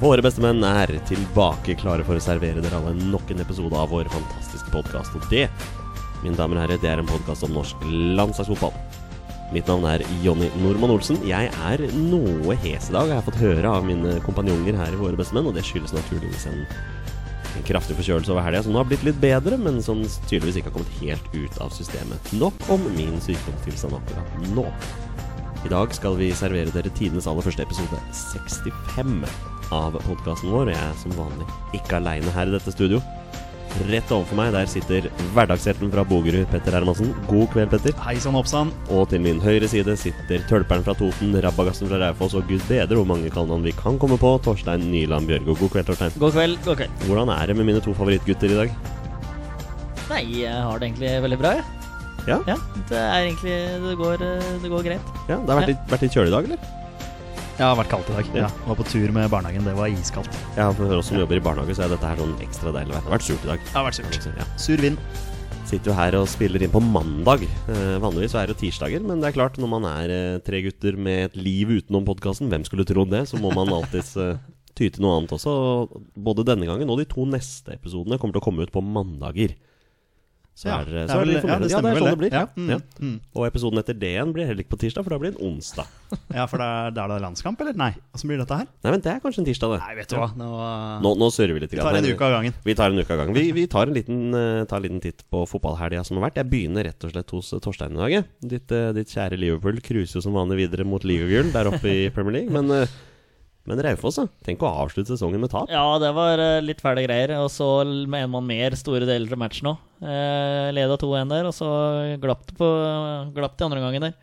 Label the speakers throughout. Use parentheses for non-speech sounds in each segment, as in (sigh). Speaker 1: Våre bestemenn er tilbake klare for å servere dere alle nok en episode av vår fantastiske podkast. Og det, mine damer og herrer, det er en podkast om norsk landslagsfotball. Mitt navn er Jonny Normann Olsen. Jeg er noe hes i dag, har jeg fått høre av mine kompanjonger her i Våre bestemenn, og det skyldes naturligvis en, en kraftig forkjølelse over helga som nå har blitt litt bedre, men som tydeligvis ikke har kommet helt ut av systemet. Nok om min sykdomstilstand akkurat nå. I dag skal vi servere dere tidenes aller første episode 65 av podkasten vår. og Jeg er som vanlig ikke aleine her i dette studio. Rett overfor meg der sitter hverdagshelten fra Bogerud, Petter Hermansen. God kveld, Petter.
Speaker 2: Hei sann, hoppsann.
Speaker 1: Og til min høyre side sitter tølperen fra Toten, rabagassen fra Raufoss og gud bedre hvor mange kallenavn vi kan komme på, Torstein Nyland Bjørgo. God kveld, Torstein.
Speaker 2: God kveld. god kveld
Speaker 1: Hvordan er det med mine to favorittgutter i dag?
Speaker 2: Nei, jeg har det egentlig veldig bra, jeg.
Speaker 1: Ja,
Speaker 2: Ja, det er egentlig Det går, eh, det går greit.
Speaker 1: ja Det har vært litt, vært litt kjølig i dag, eller?
Speaker 3: Jeg har vært kaldt i dag.
Speaker 1: Ja.
Speaker 3: Ja. Var på tur med barnehagen. Det var iskaldt.
Speaker 1: Ja, for oss som jobber i barnehage, så er dette her sånn ekstra deilig vær. Det har vært surt i dag.
Speaker 3: Det har vært surt.
Speaker 1: Ja.
Speaker 3: Sur vind.
Speaker 1: Sitter jo her og spiller inn på mandag. Eh, vanligvis så er det jo tirsdager, men det er klart, når man er eh, tre gutter med et liv utenom podkasten, hvem skulle trodd det, så må man alltids eh, ty til noe annet også. Og Både denne gangen og de to neste episodene kommer til å komme ut på mandager. Så
Speaker 3: Ja,
Speaker 1: er, det-
Speaker 3: det er
Speaker 1: så er det
Speaker 3: vel-
Speaker 1: litt fornøyelig.
Speaker 3: ja, det
Speaker 1: Ja, det
Speaker 3: stemmer
Speaker 1: er sånn det
Speaker 3: vel
Speaker 1: blir.
Speaker 3: det.
Speaker 1: Ja.
Speaker 3: Ja,
Speaker 1: Ja.
Speaker 3: mm, mm.
Speaker 1: Og episoden etter D-en blir heller ikke på tirsdag, for da blir det en onsdag.
Speaker 3: Ja, for det er, det er da landskamp, eller? Nei. Åssen blir dette her?
Speaker 1: Nei, men det er kanskje en tirsdag, det.
Speaker 3: Nei, vet du hva. Nå,
Speaker 1: Nå, nå surrer vi litt.
Speaker 3: tar
Speaker 1: grann
Speaker 3: en
Speaker 1: her.
Speaker 3: uke av gangen.
Speaker 1: Vi tar en uke av gangen. (laughs) Vi, vi tar, en liten, eh, tar en liten titt på fotballhelga som har vært. Jeg begynner rett og slett hos eh, Torstein i dag. jeg. Ditt, eh, ditt kjære Liverpool cruiser jo som vanlig videre mot ligagull der oppe (laughs) i Premier League. Men, eh, men Raufoss, da. Tenk å avslutte sesongen med tap.
Speaker 2: Ja, det var eh, litt fæle greier. Og så l- med en mann mer store deler av matchen òg. Eh, Leda 2-1 der, og så glapp det på glapp det i andre gangen der.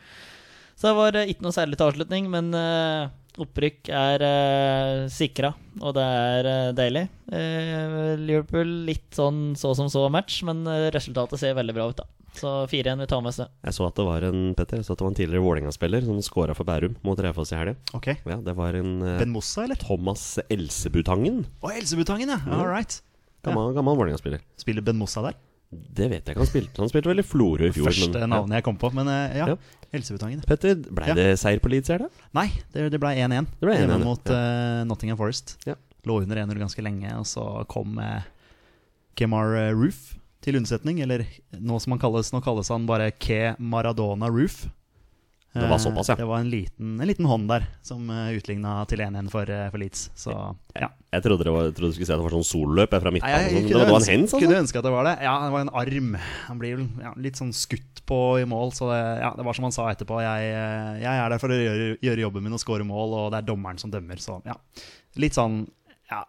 Speaker 2: Så det var eh, ikke noe særlig til avslutning, men eh, opprykk er eh, sikra, og det er eh, deilig. Eh, Liverpool litt sånn så som så match, men eh, resultatet ser veldig bra ut, da. Så 4-1 vi tar med oss det.
Speaker 1: Jeg så at det var en Petter, jeg så at det var en tidligere Vålerenga-spiller som scora for Bærum mot Raufoss i helga.
Speaker 3: Ok.
Speaker 1: Ja, det var en eh,
Speaker 3: Ben Mossa, eller?
Speaker 1: Thomas Elsebutangen.
Speaker 3: Å, Elsebutangen, ja. All right.
Speaker 1: Gammel, gammel Vålerenga-spiller.
Speaker 3: Spiller Ben Mossa der?
Speaker 1: Det vet jeg ikke han spilte. Han spilte vel i Florø i fjor.
Speaker 3: Første
Speaker 1: men-
Speaker 3: navnet jeg kom på. Men eh,
Speaker 1: Ja.
Speaker 3: ja. Elsebutangen. ja.
Speaker 1: Petter, blei
Speaker 3: Ja.
Speaker 1: det seier på Leeds her, da?
Speaker 3: Nei, det, det ble 1-1.
Speaker 1: ble 1-1, ja.
Speaker 3: Hjemme mot eh, Nottingham Forest.
Speaker 1: Ja.
Speaker 3: Lå under 1-0 ganske lenge, og så kom eh, Kemar eh, Roof til unnsetning. Eller nå som han kalles, nå kalles han bare Ke Maradona Roof. Eh,
Speaker 1: Det var såpass, ja.
Speaker 3: Det var en liten, en liten hånd der som uh, utligna til 1-1 for, eh, for Leeds. Så ja.
Speaker 1: Jeg trodde, det var, jeg trodde du skulle si at det var sånn solløp jeg, fra
Speaker 3: Nei,
Speaker 1: midtbanen.
Speaker 3: jeg
Speaker 1: sånn. Det var- det var en
Speaker 3: ønske-
Speaker 1: hands, altså?
Speaker 3: kunne ønske at det var det. Ja, det var en arm. Han blir vel ja, litt sånn skutt på i mål, så det, ja, det var som han sa etterpå. Jeg, eh, jeg er der for å gjøre, gjøre jobben min og score mål, og det er dommeren som dømmer, så ja. Litt sånn, ja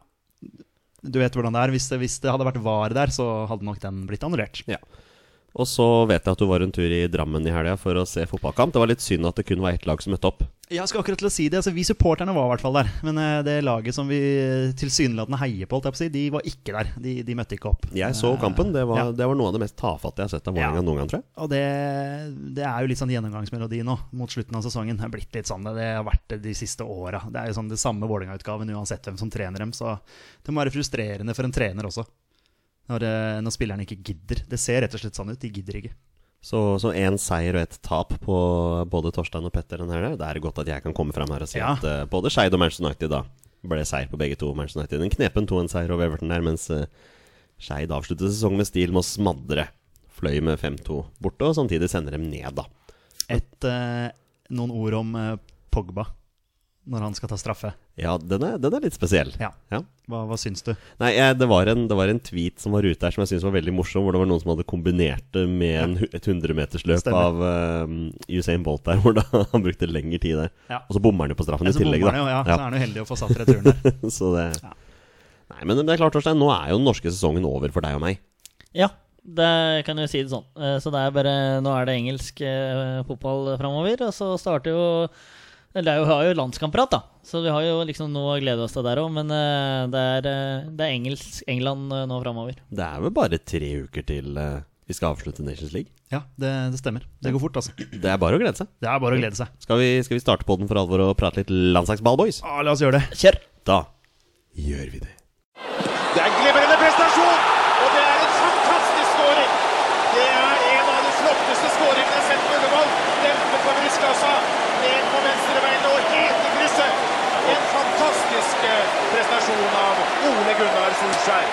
Speaker 3: Du vet hvordan det er. Hvis det, hvis det hadde vært VAR der, så hadde nok den blitt annullert.
Speaker 1: Og så vet jeg at du var en tur i Drammen i helga for å se fotballkamp. Det var litt synd at det kun var ett lag som møtte opp.
Speaker 3: Jeg skal akkurat til å si det. Altså, vi supporterne var i hvert fall der. Men eh, det laget som vi eh, tilsynelatende heier på, holdt jeg på å si, de var ikke der. De, de møtte ikke opp.
Speaker 1: Jeg så
Speaker 3: Eh,
Speaker 1: kampen. Det var,
Speaker 3: ja.
Speaker 1: det var noe av det mest tafatte jeg har sett av Vålerenga
Speaker 3: Ja.
Speaker 1: noen gang, tror jeg.
Speaker 3: Og det, det er jo litt sånn gjennomgangsmelodi nå, mot slutten av sesongen. Det er blitt litt sånn det, det har vært det de siste åra. Det er jo sånn det samme Vålerenga-utgaven uansett hvem som trener dem. Så det må være frustrerende for en trener også, når, eh, når spillerne ikke gidder. Det ser rett og slett sånn ut, de gidder ikke.
Speaker 1: Så så én seier og ett tap på både Torstein og Petter den helga. Det er godt at jeg kan komme fram her og si
Speaker 3: Ja.
Speaker 1: at eh, både Skeid og Manchester United da ble seier på begge to. Manchester United en knepen 2-1-seier over Everton der, mens uh, Skeid avsluttet sesongen med stil med å smadre. Fløy med 5-2 borte, og samtidig sender dem ned, da.
Speaker 3: Et, eh, noen ord om eh, Pogba når han skal ta straffe.
Speaker 1: Ja, den er, den er litt spesiell.
Speaker 3: Ja.
Speaker 1: Ja.
Speaker 3: Hva, hva syns du?
Speaker 1: Nei, jeg, det, var en, det var en tweet som var ute her som jeg syntes var veldig morsom, hvor det var noen som hadde kombinert det med en, hu- et 100-metersløp
Speaker 3: Stemmer.
Speaker 1: av eh, Usain Bolt der, (laughs) hvor da han brukte lengre tid der.
Speaker 3: Ja.
Speaker 1: Og så bommer han jo på straffen
Speaker 3: Ja,
Speaker 1: i
Speaker 3: så
Speaker 1: tillegg,
Speaker 3: bommer han
Speaker 1: da.
Speaker 3: jo, ja,
Speaker 1: Ja.
Speaker 3: Så Altså, er han jo heldig å få satt returen (laughs) der.
Speaker 1: (laughs) Så det
Speaker 3: Ja.
Speaker 1: Nei, men det er klart, Torstein, nå er jo den norske sesongen over for deg og meg.
Speaker 2: Ja, det kan jo si det sånn. Eh, Så det er bare Nå er det engelsk eh, fotball framover, og så starter jo eller det er jo, vi har jo landskamprat, da, så vi har jo liksom noe å glede oss til der òg. Men eh, det er, eh, det er engelsk England eh, nå framover.
Speaker 1: Det er vel bare tre uker til eh, vi skal avslutte Nations League.
Speaker 3: Ja, det, det stemmer. Det går fort, altså.
Speaker 1: Det er bare å glede seg.
Speaker 3: Det er bare å glede seg.
Speaker 1: Skal vi, skal vi starte på den for alvor og prate litt landslagsball, boys?
Speaker 3: Å, la oss gjøre det.
Speaker 2: Kjør!
Speaker 1: Da gjør vi det.
Speaker 4: Det er en glimrende prestasjon, og det er en fantastisk scoring. Det er en av de flotteste scoringene jeg har sett på Ullevål. Dempe på brystkassa, ned på venstrebeinet og helt i krysset. En fantastisk fantastisk eh, prestasjon av Ole Gunnar Solskjær.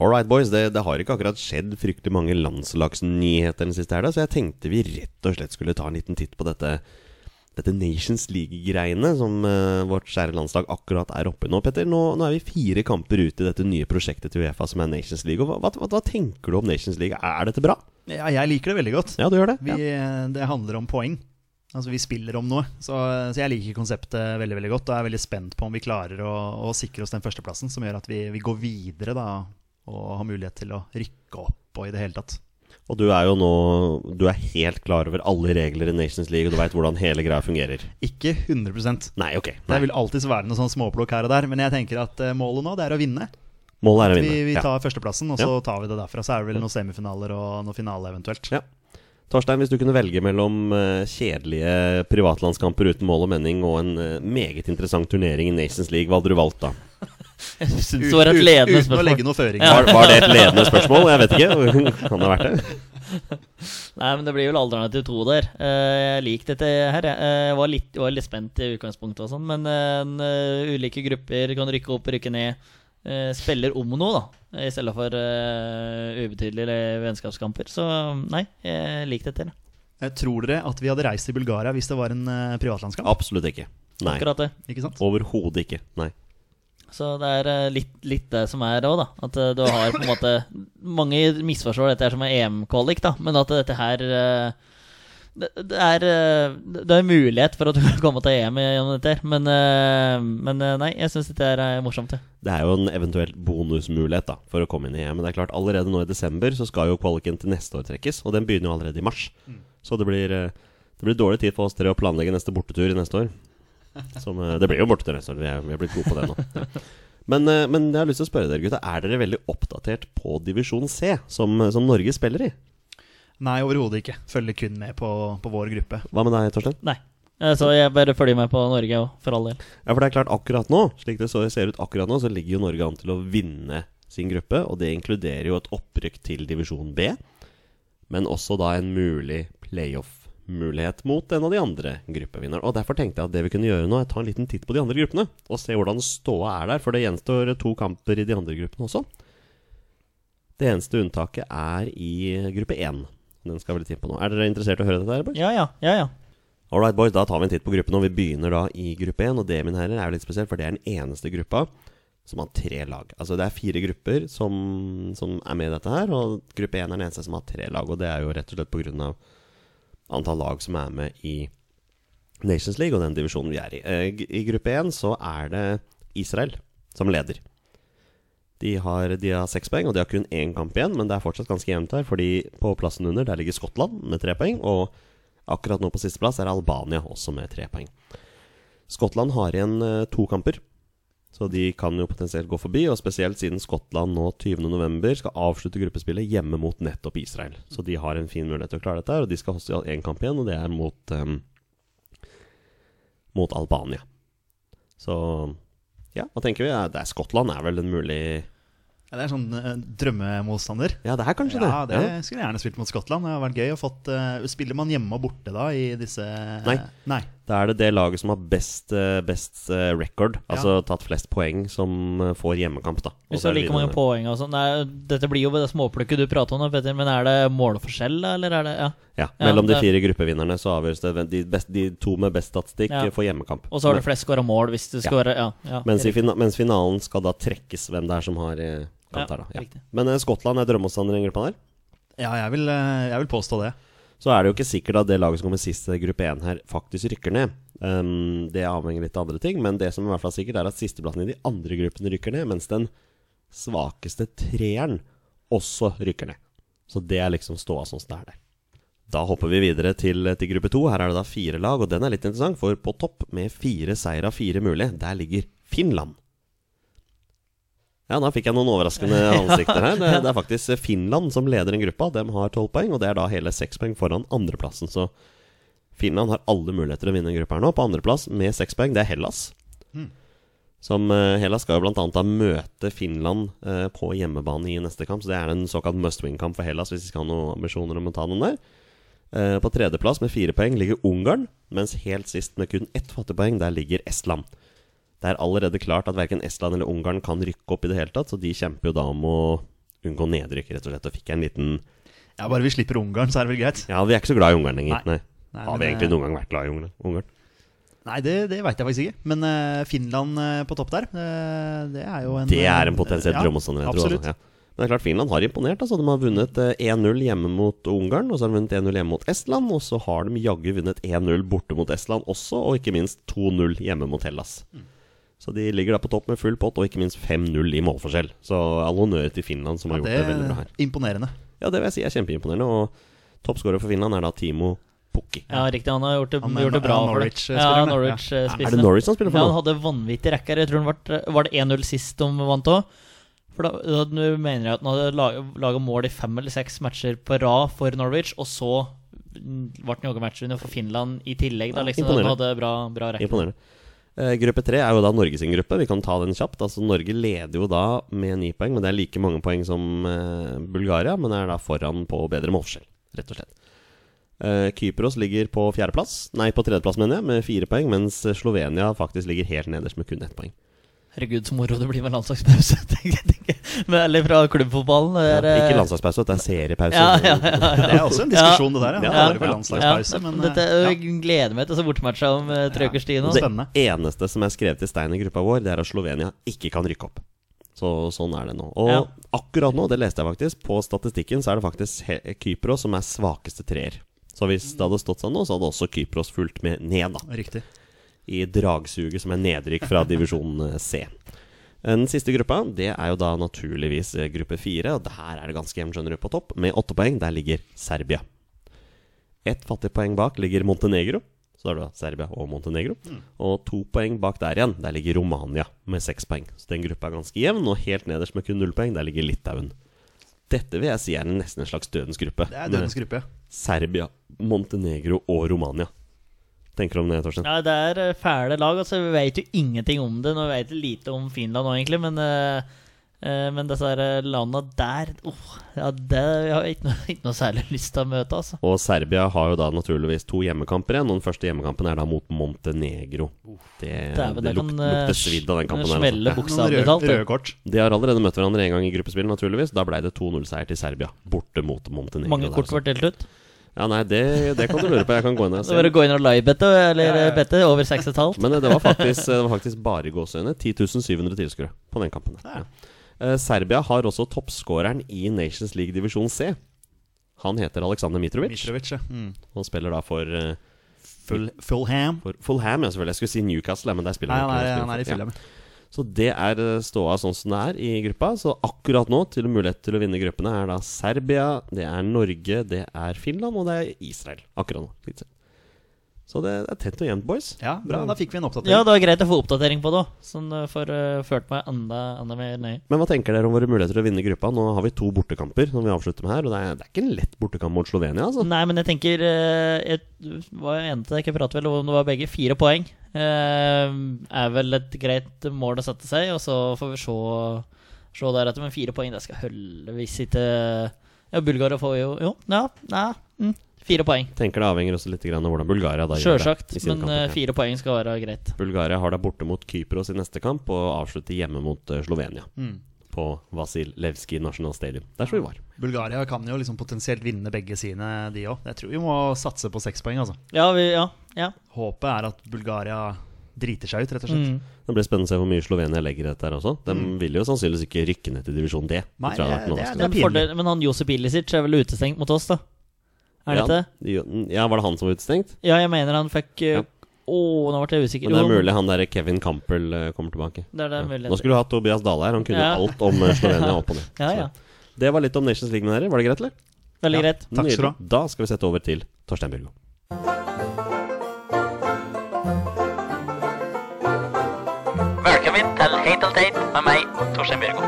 Speaker 1: All right, boys. Det, det har ikke akkurat skjedd fryktelig mange landslagsnyheter den siste helga, så jeg tenkte vi rett og slett skulle ta en liten titt på dette, dette Nations League-greiene som eh, vårt kjære landslag akkurat er oppe i nå, Petter. Nå, nå er vi fire kamper ut i dette nye prosjektet til Uefa som er Nations League. Og hva, hva, hva tenker du om Nations League? Er dette bra?
Speaker 3: Ja, jeg liker det veldig godt.
Speaker 1: Ja, du gjør det?
Speaker 3: Vi,
Speaker 1: Ja.
Speaker 3: Det handler om poeng. Altså Vi spiller om noe. Så, så jeg liker konseptet veldig veldig godt. Og er veldig spent på om vi klarer å, å sikre oss den førsteplassen, som gjør at vi, vi går videre da og har mulighet til å rykke opp og i det hele tatt.
Speaker 1: Og du er jo nå Du er helt klar over alle regler i Nations League, og du veit hvordan hele greia fungerer.
Speaker 3: Ikke 100
Speaker 1: Nei, ok.
Speaker 3: Det
Speaker 1: Nei.
Speaker 3: vil alltid være noe sånn småplukk her og der, men jeg tenker at eh, målet nå det er å vinne.
Speaker 1: Målet er å vinne.
Speaker 3: Vi, vi
Speaker 1: Ja.
Speaker 3: tar førsteplassen, og så tar vi det derfra. Så er det vel noen semifinaler og noen finale eventuelt.
Speaker 1: Ja. Torstein, hvis du kunne velge mellom eh, kjedelige privatlandskamper uten mål og mening og en eh, meget interessant turnering i Nations League, hva hadde du valgt da?
Speaker 2: Jeg syns
Speaker 3: Ut-
Speaker 2: det var et
Speaker 3: ut-
Speaker 2: ledende
Speaker 3: Uten å
Speaker 2: spørsmål.
Speaker 3: legge noen føringer.
Speaker 1: Var, var det et ledende spørsmål? Jeg vet ikke. (laughs) Kan det ha vært det?
Speaker 2: Nei, men det blir vel alternativ to der. Eh, Jeg liker dette her, jeg. Eh, Jeg var litt, var litt spent i utgangspunktet og sånn, men eh, en, eh, ulike grupper kan rykke opp, rykke ned. eh, Spiller om noe, da, i stedet for eh, ubetydelige vennskapskamper. Så nei, jeg liker dette. her.
Speaker 3: Eh, Tror dere at vi hadde reist til Bulgaria hvis det var en eh, privatlandskamp?
Speaker 1: Absolutt ikke. Nei.
Speaker 2: Akkurat det.
Speaker 3: Ikke sant?
Speaker 1: Overhodet ikke. Nei.
Speaker 2: Så det er eh, litt, litt det som er òg, da. At eh, du har på en måte (laughs) Mange misforstår dette her som en EM-kvalik, da, men at dette her eh, det, det er eh, Det er en mulighet for at du (laughs) kan komme til EM gjennom dette her, men, eh, men eh, nei, jeg syns dette her er morsomt, jeg.
Speaker 1: Det er jo en eventuell bonusmulighet da, for å komme inn i EM. Men det er klart, allerede nå i desember så skal jo kvaliken til neste år trekkes, og den begynner jo allerede i mars. Så det blir, eh, det blir dårlig tid for oss tre å planlegge neste bortetur neste år. Som, eh, det blir jo bortetur neste år, vi er, vi er blitt gode på det nå. Ja. Men, eh, men jeg har lyst til å spørre dere, gutta. Er dere veldig oppdatert på divisjon C, som, som Norge spiller i?
Speaker 3: Nei, overhodet ikke. Følger kun med på, på vår gruppe.
Speaker 1: Hva med deg, Torstein?
Speaker 2: Nei. Eh, Så jeg bare følger med på Norge òg, for all del.
Speaker 1: Ja, for det er klart akkurat nå, slik det så ser ut akkurat nå, så ligger jo Norge an til å vinne sin gruppe, og det inkluderer jo et opprykk til divisjon B, men også da en mulig playoff-mulighet mot en av de andre gruppevinnerne. Og derfor tenkte jeg at det vi kunne gjøre nå, er ta en liten titt på de andre gruppene, og se hvordan ståa er der, for det gjenstår to kamper i de andre gruppene også. Det eneste unntaket er i gruppe 1. Den skal vi litt inn på nå. Er dere interessert i å høre dette? her, boys?
Speaker 2: Ja ja, ja ja.
Speaker 1: All right, boys, da tar vi en titt på gruppen, og vi begynner da i gruppe 1. Og det, mine herrer, er jo litt spesielt, for det er den eneste gruppa som har tre lag. Altså det er fire grupper som, som er med i dette her, og gruppe 1 er den eneste som har tre lag. Og det er jo rett og slett på grunn av antall lag som er med i Nations League og den divisjonen vi er i. Eh, g- I gruppe 1 så er det Israel som leder. De har, de har seks poeng, og de har kun én kamp igjen, men det er fortsatt ganske jevnt her, fordi på plassen under der ligger Skottland med tre poeng, og Akkurat nå på sisteplass er Albania også med tre poeng. Skottland har igjen eh, to kamper, så de kan jo potensielt gå forbi. Og spesielt siden Skottland nå 20.11 skal avslutte gruppespillet hjemme mot nettopp Israel. Så de har en fin mulighet til å klare dette, her, og de skal også i én kamp igjen, og det er mot, eh, mot Albania. Så ja, hva tenker vi? Ja, Det er Skottland er vel en mulig
Speaker 3: Ja, det er sånn eh, drømmemotstander.
Speaker 1: Ja, det er kanskje
Speaker 3: Ja,
Speaker 1: det.
Speaker 3: det skulle jeg gjerne spilt mot Skottland. Det har vært gøy. Og fått, eh, spiller man hjemme og borte da i disse eh,
Speaker 1: Nei.
Speaker 3: Nei.
Speaker 1: Da er det det laget som har best, eh, best eh, record, altså tatt flest poeng, som eh, får hjemmekamp, da. Og
Speaker 2: Hvis
Speaker 1: så er
Speaker 2: du har
Speaker 1: det
Speaker 2: like mange
Speaker 1: vinnerne.
Speaker 2: poeng og sånn Nei, dette blir jo det småplukket du prater om, da, Petter, men er det målforskjell, da, eller er det Ja.
Speaker 1: Ja,
Speaker 2: Ja,
Speaker 1: Mellom de
Speaker 2: det-
Speaker 1: fire gruppevinnerne så avgjøres det hvem- de, best, de to med best statistikk
Speaker 2: Ja.
Speaker 1: eh, får hjemmekamp.
Speaker 2: Og så har du flest skåra mål hvis du skårer Ja. ja.
Speaker 1: mens, i fina, mens finalen skal da trekkes hvem det er som har eh, kamp
Speaker 2: Ja,
Speaker 1: her, da.
Speaker 2: riktig.
Speaker 1: Ja. Men eh, Skottland er drømmemotstander i den gruppa der.
Speaker 3: Ja, jeg vil, eh, jeg vil påstå det.
Speaker 1: Så er det jo ikke sikkert at det laget som kommer sist i gruppe 1 her, faktisk rykker ned. Um, det avhenger litt av andre ting, men det som i hvert fall er sikkert, er at sisteplassen i de andre gruppene rykker ned, mens den svakeste treeren også rykker ned. Så det er liksom ståa sånn som det er der. Da hopper vi videre til, til gruppe to. Her er det da fire lag, og den er litt interessant, for på topp, med fire seier av fire mulige, der ligger Finland. Ja, da fikk jeg noen overraskende ansikter her. Det, det er faktisk Finland som leder den gruppa. De har tolv poeng, og det er da hele seks poeng foran andreplassen. Så Finland har alle muligheter til å vinne den gruppa her nå. På andreplass med seks poeng, det er Hellas. Som eh, Hellas skal jo blant annet da møte Finland eh, på hjemmebane i neste kamp, så det er en såkalt must win-kamp for Hellas hvis de skal ha noen ambisjoner om å ta den der. Eh, På tredjeplass med fire poeng ligger Ungarn, mens helt sist med kun ett fattigpoeng, der ligger Estland. Det er allerede klart at verken Estland eller Ungarn kan rykke opp i det hele tatt, så de kjemper jo da om å unngå nedrykk, rett og slett. Og fikk jeg en liten
Speaker 3: Ja, Bare vi slipper Ungarn, så er det vel greit.
Speaker 1: Ja, vi er ikke så glad i Ungarn lenger. Nei.
Speaker 3: Nei,
Speaker 1: Har
Speaker 3: men,
Speaker 1: vi
Speaker 3: eh,
Speaker 1: egentlig noen gang vært glad i Ungarn? Ungarn?
Speaker 3: Nei, det, det veit jeg faktisk ikke. Men eh, Finland eh, på topp der, eh, det er jo en
Speaker 1: Det er en potensiell
Speaker 3: eh, ja,
Speaker 1: drømmemotstander, jeg tror.
Speaker 3: absolutt.
Speaker 1: Altså, ja. Men det er klart, Finland har imponert. Altså. De har vunnet eh, 1-0 hjemme mot Ungarn, og så har de vunnet 1-0 hjemme mot Estland, og så har de jaggu vunnet 1-0 borte mot Estland også, og ikke minst 2-0 hjemme mot Hellas.
Speaker 3: Mm.
Speaker 1: Så de ligger da på topp med full pott, og ikke minst 5-0 i målforskjell. Så all honnør til Finland, som har
Speaker 3: Ja,
Speaker 1: gjort
Speaker 3: det
Speaker 1: det, veldig bra her.
Speaker 3: er imponerende.
Speaker 1: Ja, det vil jeg si er kjempeimponerende, og toppskårer for Finland er da Timo Pukki.
Speaker 2: Ja, riktig. Han har gjort det,
Speaker 3: Han er-
Speaker 2: gjort det bra.
Speaker 3: han er
Speaker 2: for det.
Speaker 1: eh,
Speaker 2: ja,
Speaker 3: Norwich-spilleren, ja.
Speaker 2: Norwich-spissen.
Speaker 1: Er det Norwich som spiller for
Speaker 2: Ja, han
Speaker 1: nå?
Speaker 2: hadde vanvittig rack her. Jeg tror han var, var det 1-0 sist de vant òg. For da, da nå mener jeg at han hadde laga mål i fem eller seks matcher på rad for Norwich, og så ble han jogga matchvinner for Finland i tillegg. Da,
Speaker 1: Ja,
Speaker 2: liksom,
Speaker 1: imponerende.
Speaker 2: han hadde bra, bra rekke.
Speaker 1: Imponerende. Eh, gruppe tre er jo da Norge sin gruppe. Vi kan ta den kjapt. Altså Norge leder jo da med ni poeng, men det er like mange poeng som eh, Bulgaria. Men er da foran på bedre målforskjell, rett og slett. Eh, Kypros ligger på fjerdeplass, nei på tredjeplass, mener jeg, med fire poeng. Mens Slovenia faktisk ligger helt nederst med kun ett poeng.
Speaker 2: Herregud, så moro det blir med landslagspause. (laughs) tenker jeg, tenker jeg. Men, eller fra klubbfotballen. det
Speaker 1: Ja,
Speaker 2: er, eh,
Speaker 1: ikke landslagspause, det er seriepause.
Speaker 2: Ja, ja, ja, ja.
Speaker 1: (laughs)
Speaker 3: Det er også en diskusjon, det der. Ja.
Speaker 1: Ja,
Speaker 3: Det er
Speaker 1: ja,
Speaker 3: vel landslagspause,
Speaker 2: Ja,
Speaker 3: men
Speaker 2: Dette,
Speaker 3: eh,
Speaker 2: jeg gleder meg til så bortematcha om eh, tre
Speaker 3: Ja.
Speaker 2: ukers tid nå.
Speaker 1: Det
Speaker 3: Spennende.
Speaker 1: eneste som er skrevet i stein i gruppa vår, det er at Slovenia ikke kan rykke opp. Så sånn er det nå. Og
Speaker 2: Ja.
Speaker 1: akkurat nå, det leste jeg faktisk, på statistikken så er det faktisk he- Kypros som er svakeste treer. Så hvis det hadde stått sånn nå, så hadde også Kypros fulgt med ned, da.
Speaker 3: ja, riktig.
Speaker 1: I dragsuget som er nedrykk fra divisjon eh, C. Den siste gruppa, det er jo da naturligvis eh, gruppe fire. Og der er det ganske jevnt, skjønner du, på topp. Med åtte poeng, der ligger Serbia. Ett fattig poeng bak ligger Montenegro. Så har du da Serbia og Montenegro.
Speaker 3: Mm.
Speaker 1: Og to poeng bak der igjen, der ligger Romania med seks poeng. Så den gruppa er ganske jevn, og helt nederst med kun null poeng, der ligger Litauen. Dette vil jeg si er nesten en slags dødens gruppe.
Speaker 3: Det er
Speaker 1: med
Speaker 3: dødens gruppe, ja.
Speaker 1: Serbia, Montenegro og Romania. Tenker du om det, Torstein?
Speaker 2: Ja, det er eh, fæle lag. Altså, vi vet jo ingenting om det. Nå vet vi lite om Finland nå, egentlig, men eh, eh, men disse her, eh, landa der oh, ja, det jeg har jeg ikke, noe- (laughs) ikke noe særlig lyst til å møte, altså.
Speaker 1: Og Serbia har jo da naturligvis to hjemmekamper igjen. Og den første hjemmekampen er da mot Montenegro. Det,
Speaker 2: Dæven,
Speaker 1: det,
Speaker 2: det
Speaker 1: lukter,
Speaker 2: kan, eh,
Speaker 1: lukter svidd av den kampen. her,
Speaker 2: smelle
Speaker 1: altså.
Speaker 2: buksa.
Speaker 3: Noen
Speaker 2: Bokstavelig
Speaker 3: røde,
Speaker 2: talt, eh. det.
Speaker 3: røde kort.
Speaker 1: Ja. De har allerede møtt hverandre én gang i gruppespill, naturligvis. Da ble det 2-0-seier til Serbia, borte mot Montenegro.
Speaker 2: Mange
Speaker 1: der,
Speaker 2: kort
Speaker 1: altså.
Speaker 2: ble delt ut.
Speaker 1: Ja, nei, det, det kan du lure på. Jeg kan gå
Speaker 2: (laughs)
Speaker 1: inn og
Speaker 2: Så bare
Speaker 1: se.
Speaker 2: gå inn og livebette, eller eh, bette, over 6,5.
Speaker 1: Men eh, det var faktisk, det var faktisk bare i gåseøyne 10.700 tilskuere på den kampen. Ja. Eh, Serbia har også toppskåreren i Nations League divisjon C. Han heter Aleksandr Mitrovic,
Speaker 3: Mitrovic, ja. Mm.
Speaker 1: og spiller da for eh,
Speaker 3: Full, Fulham.
Speaker 1: For Fulham, ja, selvfølgelig. Jeg skulle si Newcastle, men der spiller
Speaker 3: Nei, han
Speaker 1: ikke.
Speaker 3: er,
Speaker 1: Der spiller
Speaker 3: han er i
Speaker 1: for-
Speaker 3: Fulham.
Speaker 1: Ja. Så det er eh, ståa sånn som det er i gruppa. Så akkurat nå, til mulighet til å vinne gruppene, er da Serbia, det er Norge, det er Finland, og det er Israel. Akkurat nå. litt sent. Så det er tett og jevnt, boys.
Speaker 3: Ja, bra. Da fikk vi en
Speaker 2: Ja,
Speaker 3: oppdatering.
Speaker 2: det var greit å få oppdatering på det òg, som eh, får eh, ført meg enda, enda mer nøye.
Speaker 1: Men hva tenker dere om våre muligheter til å vinne gruppa? Nå har vi to bortekamper som vi avslutter med her, og det er, det er ikke en lett bortekamp mot Slovenia, altså.
Speaker 2: Nei, men jeg tenker eh, Jeg var jo enig til deg, ikke prater vel om det var begge. Fire poeng eh, er vel et greit mål å sette seg, og så får vi se, se deretter. Men fire poeng, det skal holde hvis ikke Ja, Bulgaria får jo Jo, ja, nei. Mm, fire poeng.
Speaker 1: Tenker det avhenger også litt grann av hvordan Bulgaria da gjør
Speaker 2: Sjølsagt,
Speaker 1: det. i sine
Speaker 2: men
Speaker 1: kamper.
Speaker 2: eh, fire poeng skal være greit.
Speaker 1: Bulgaria har da borte mot Kypros i neste kamp, og avslutter hjemme mot eh, Slovenia.
Speaker 3: Mm.
Speaker 1: På Vasil Levski National Stadium. Der så vi var.
Speaker 3: Bulgaria kan jo liksom potensielt vinne begge sine, de òg. Jeg tror vi må satse på seks poeng, altså.
Speaker 2: Ja, vi, ja. ja.
Speaker 3: Håpet er at Bulgaria driter seg ut, rett og slett.
Speaker 2: Mm.
Speaker 1: Det blir spennende å se hvor mye Slovenia legger i dette her også. De vil jo sannsynligvis ikke rykke ned til divisjon D.
Speaker 3: Mm. Nei,
Speaker 1: tror jeg har vært noe
Speaker 3: det er-
Speaker 1: vanskelig.
Speaker 2: Men,
Speaker 3: pinlig.
Speaker 2: fordel, men han Josip Ilicic er vel utestengt mot oss, da? Er det ikke det?
Speaker 1: Ja, jo- mm, ja, var det han som var utestengt?
Speaker 2: Ja, jeg mener han fikk eh,
Speaker 1: Ja.
Speaker 2: Å, nå ble jeg usikker.
Speaker 1: Men det er
Speaker 2: Jo,
Speaker 1: mulig han der Kevin Campbell eh, kommer tilbake.
Speaker 2: Det er det
Speaker 1: Ja.
Speaker 2: mulig.
Speaker 1: Nå skulle du hatt Tobias Dale her, han kunne
Speaker 2: Ja.
Speaker 1: alt om eh, Slovenia opp og ned.
Speaker 2: (laughs) Ja, ja.
Speaker 1: Så Det var litt om Nations League med dere, var det greit, eller?
Speaker 2: Veldig
Speaker 3: Ja.
Speaker 2: greit.
Speaker 3: Takk skal du ha.
Speaker 1: Nydelig. Da skal vi sette over til Torstein Bjørgo.
Speaker 5: Velkommen til Heit eller teit med meg, Torstein Bjørgo.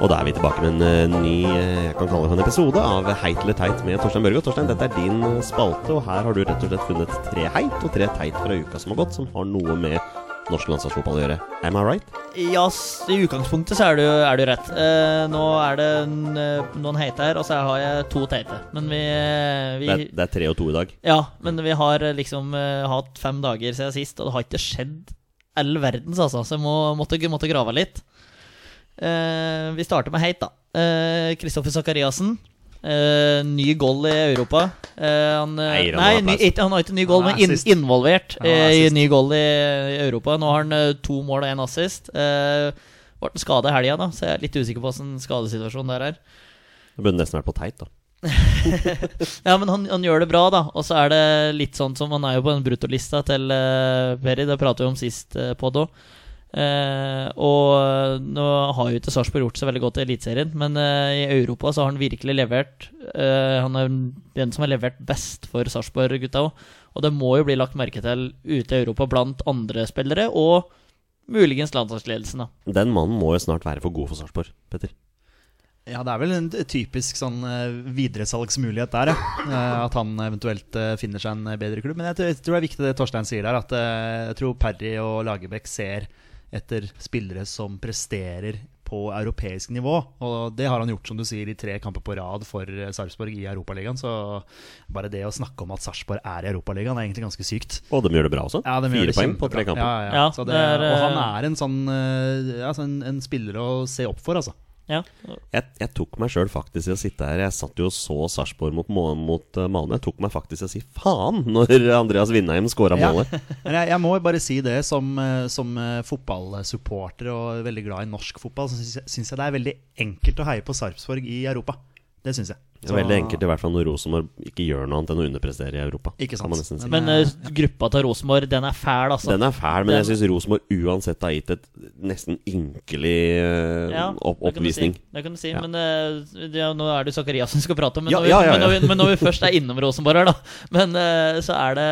Speaker 1: Og da er vi tilbake med en eh, ny eh, jeg kan kalle det en episode av Heit eller teit med Torstein Børge. Og Torstein, dette er din eh, spalte, og her har du rett og slett funnet tre heit og tre teit fra uka som har gått, som har noe med norsk landslagsfotball å gjøre. Am I right?
Speaker 2: Ja, s- i utgangspunktet så er du, er du rett. Eh, nå er det en, eh, noen heite her, og så har jeg to teite. Men vi,
Speaker 1: Det
Speaker 2: vi
Speaker 1: er, det er tre og to i dag.
Speaker 2: Ja, men vi har eh, liksom eh, hatt fem dager siden sist, og det har ikke skjedd all verdens, altså. Så jeg må, måtte, måtte grave litt. Eh, vi starter med heit, da. Eh, Kristoffer Sakariassen. Eh, ny goal i Europa. Eh, han, eh,
Speaker 1: Nei, han
Speaker 2: nei,
Speaker 1: har
Speaker 2: ny,
Speaker 1: applaus.
Speaker 2: ikke, han har ikke ny goal,
Speaker 3: Han er
Speaker 2: men inn,
Speaker 3: assist.
Speaker 2: involvert
Speaker 3: Ja, han er
Speaker 2: eh, i
Speaker 3: assist.
Speaker 2: ny goal i, i Europa. Nå har han eh, to mål og én assist. Eh, ble en skade i helga, da, så jeg er litt usikker på hvordan skadesituasjonen der er.
Speaker 1: Det burde nesten vært på teit, da.
Speaker 2: Ja, men han, han gjør det bra, da. Og så er det litt sånn som Han er jo på den bruttolista til uh, Perry, det pratet vi om sist uh, på da. Eh, og nå har jo ikke Sarpsborg gjort så veldig godt i Eliteserien, men eh, i Europa så har han virkelig levert. Eh, han er den som har levert best for Sarpsborg-gutta òg. Og det må jo bli lagt merke til ute i Europa blant andre spillere, og muligens landslagsledelsen, da.
Speaker 1: Den mannen må jo snart være for god for Sarpsborg, Petter.
Speaker 3: Ja, det er vel en typisk sånn eh, videresalgsmulighet der, ja. Eh, At han eventuelt eh, finner seg en bedre klubb. Men jeg tror- jeg tror det er viktig det Torstein sier der, at eh, jeg tror Parry og Lagerbäck ser etter spillere som presterer på europeisk nivå. Og det har han gjort, som du sier, i tre kamper på rad for eh, Sarpsborg i Europaligaen. Så bare det å snakke om at Sarpsborg er i Europaligaen, er egentlig ganske sykt.
Speaker 1: Og de gjør det bra også.
Speaker 3: Ja, de gjør
Speaker 1: Fire
Speaker 3: det
Speaker 1: poeng på
Speaker 3: kjempebra.
Speaker 1: tre kamper.
Speaker 3: Ja, ja, ja.
Speaker 2: Ja,
Speaker 3: Så det,
Speaker 2: det er,
Speaker 3: og
Speaker 2: eh,
Speaker 3: han er en sånn eh, ja, så en, en spiller å se opp for, altså.
Speaker 2: Ja.
Speaker 1: Jeg, jeg tok meg sjøl faktisk i å sitte her. Jeg satt jo og så Sarpsborg mot, Må- mot eh, Malmö. Jeg tok meg faktisk i å si faen når (laughs) Andreas Vindheim scora
Speaker 3: Ja.
Speaker 1: målet.
Speaker 3: Men jeg, jeg må bare si det, som, eh, som eh, fotballsupporter og veldig glad i norsk fotball, så syns- syns jeg det er veldig enkelt å heie på Sarpsborg i Europa. Det syns jeg.
Speaker 1: Det er Veldig enkelt, i hvert fall når Rosenborg ikke gjør noe annet enn å underprestere i Europa.
Speaker 3: Ikke sant.
Speaker 1: Kan man nesten si.
Speaker 2: Men eh, gruppa til Rosenborg, den er fæl, altså.
Speaker 1: Den er fæl, men
Speaker 2: Den-
Speaker 1: jeg syns Rosenborg uansett har gitt et nesten ynkelig eh,
Speaker 2: Ja,
Speaker 1: opp
Speaker 2: det kan du
Speaker 1: oppvisning.
Speaker 2: Si. Det kan du si,
Speaker 1: Ja.
Speaker 2: men eh, det, er- nå er det jo Zakarias som skal prate om, men,
Speaker 1: Ja,
Speaker 2: når vi,
Speaker 1: ja, ja, ja.
Speaker 2: Men, når vi, men når vi først er innom Rosenborg her, da, men eh, så er det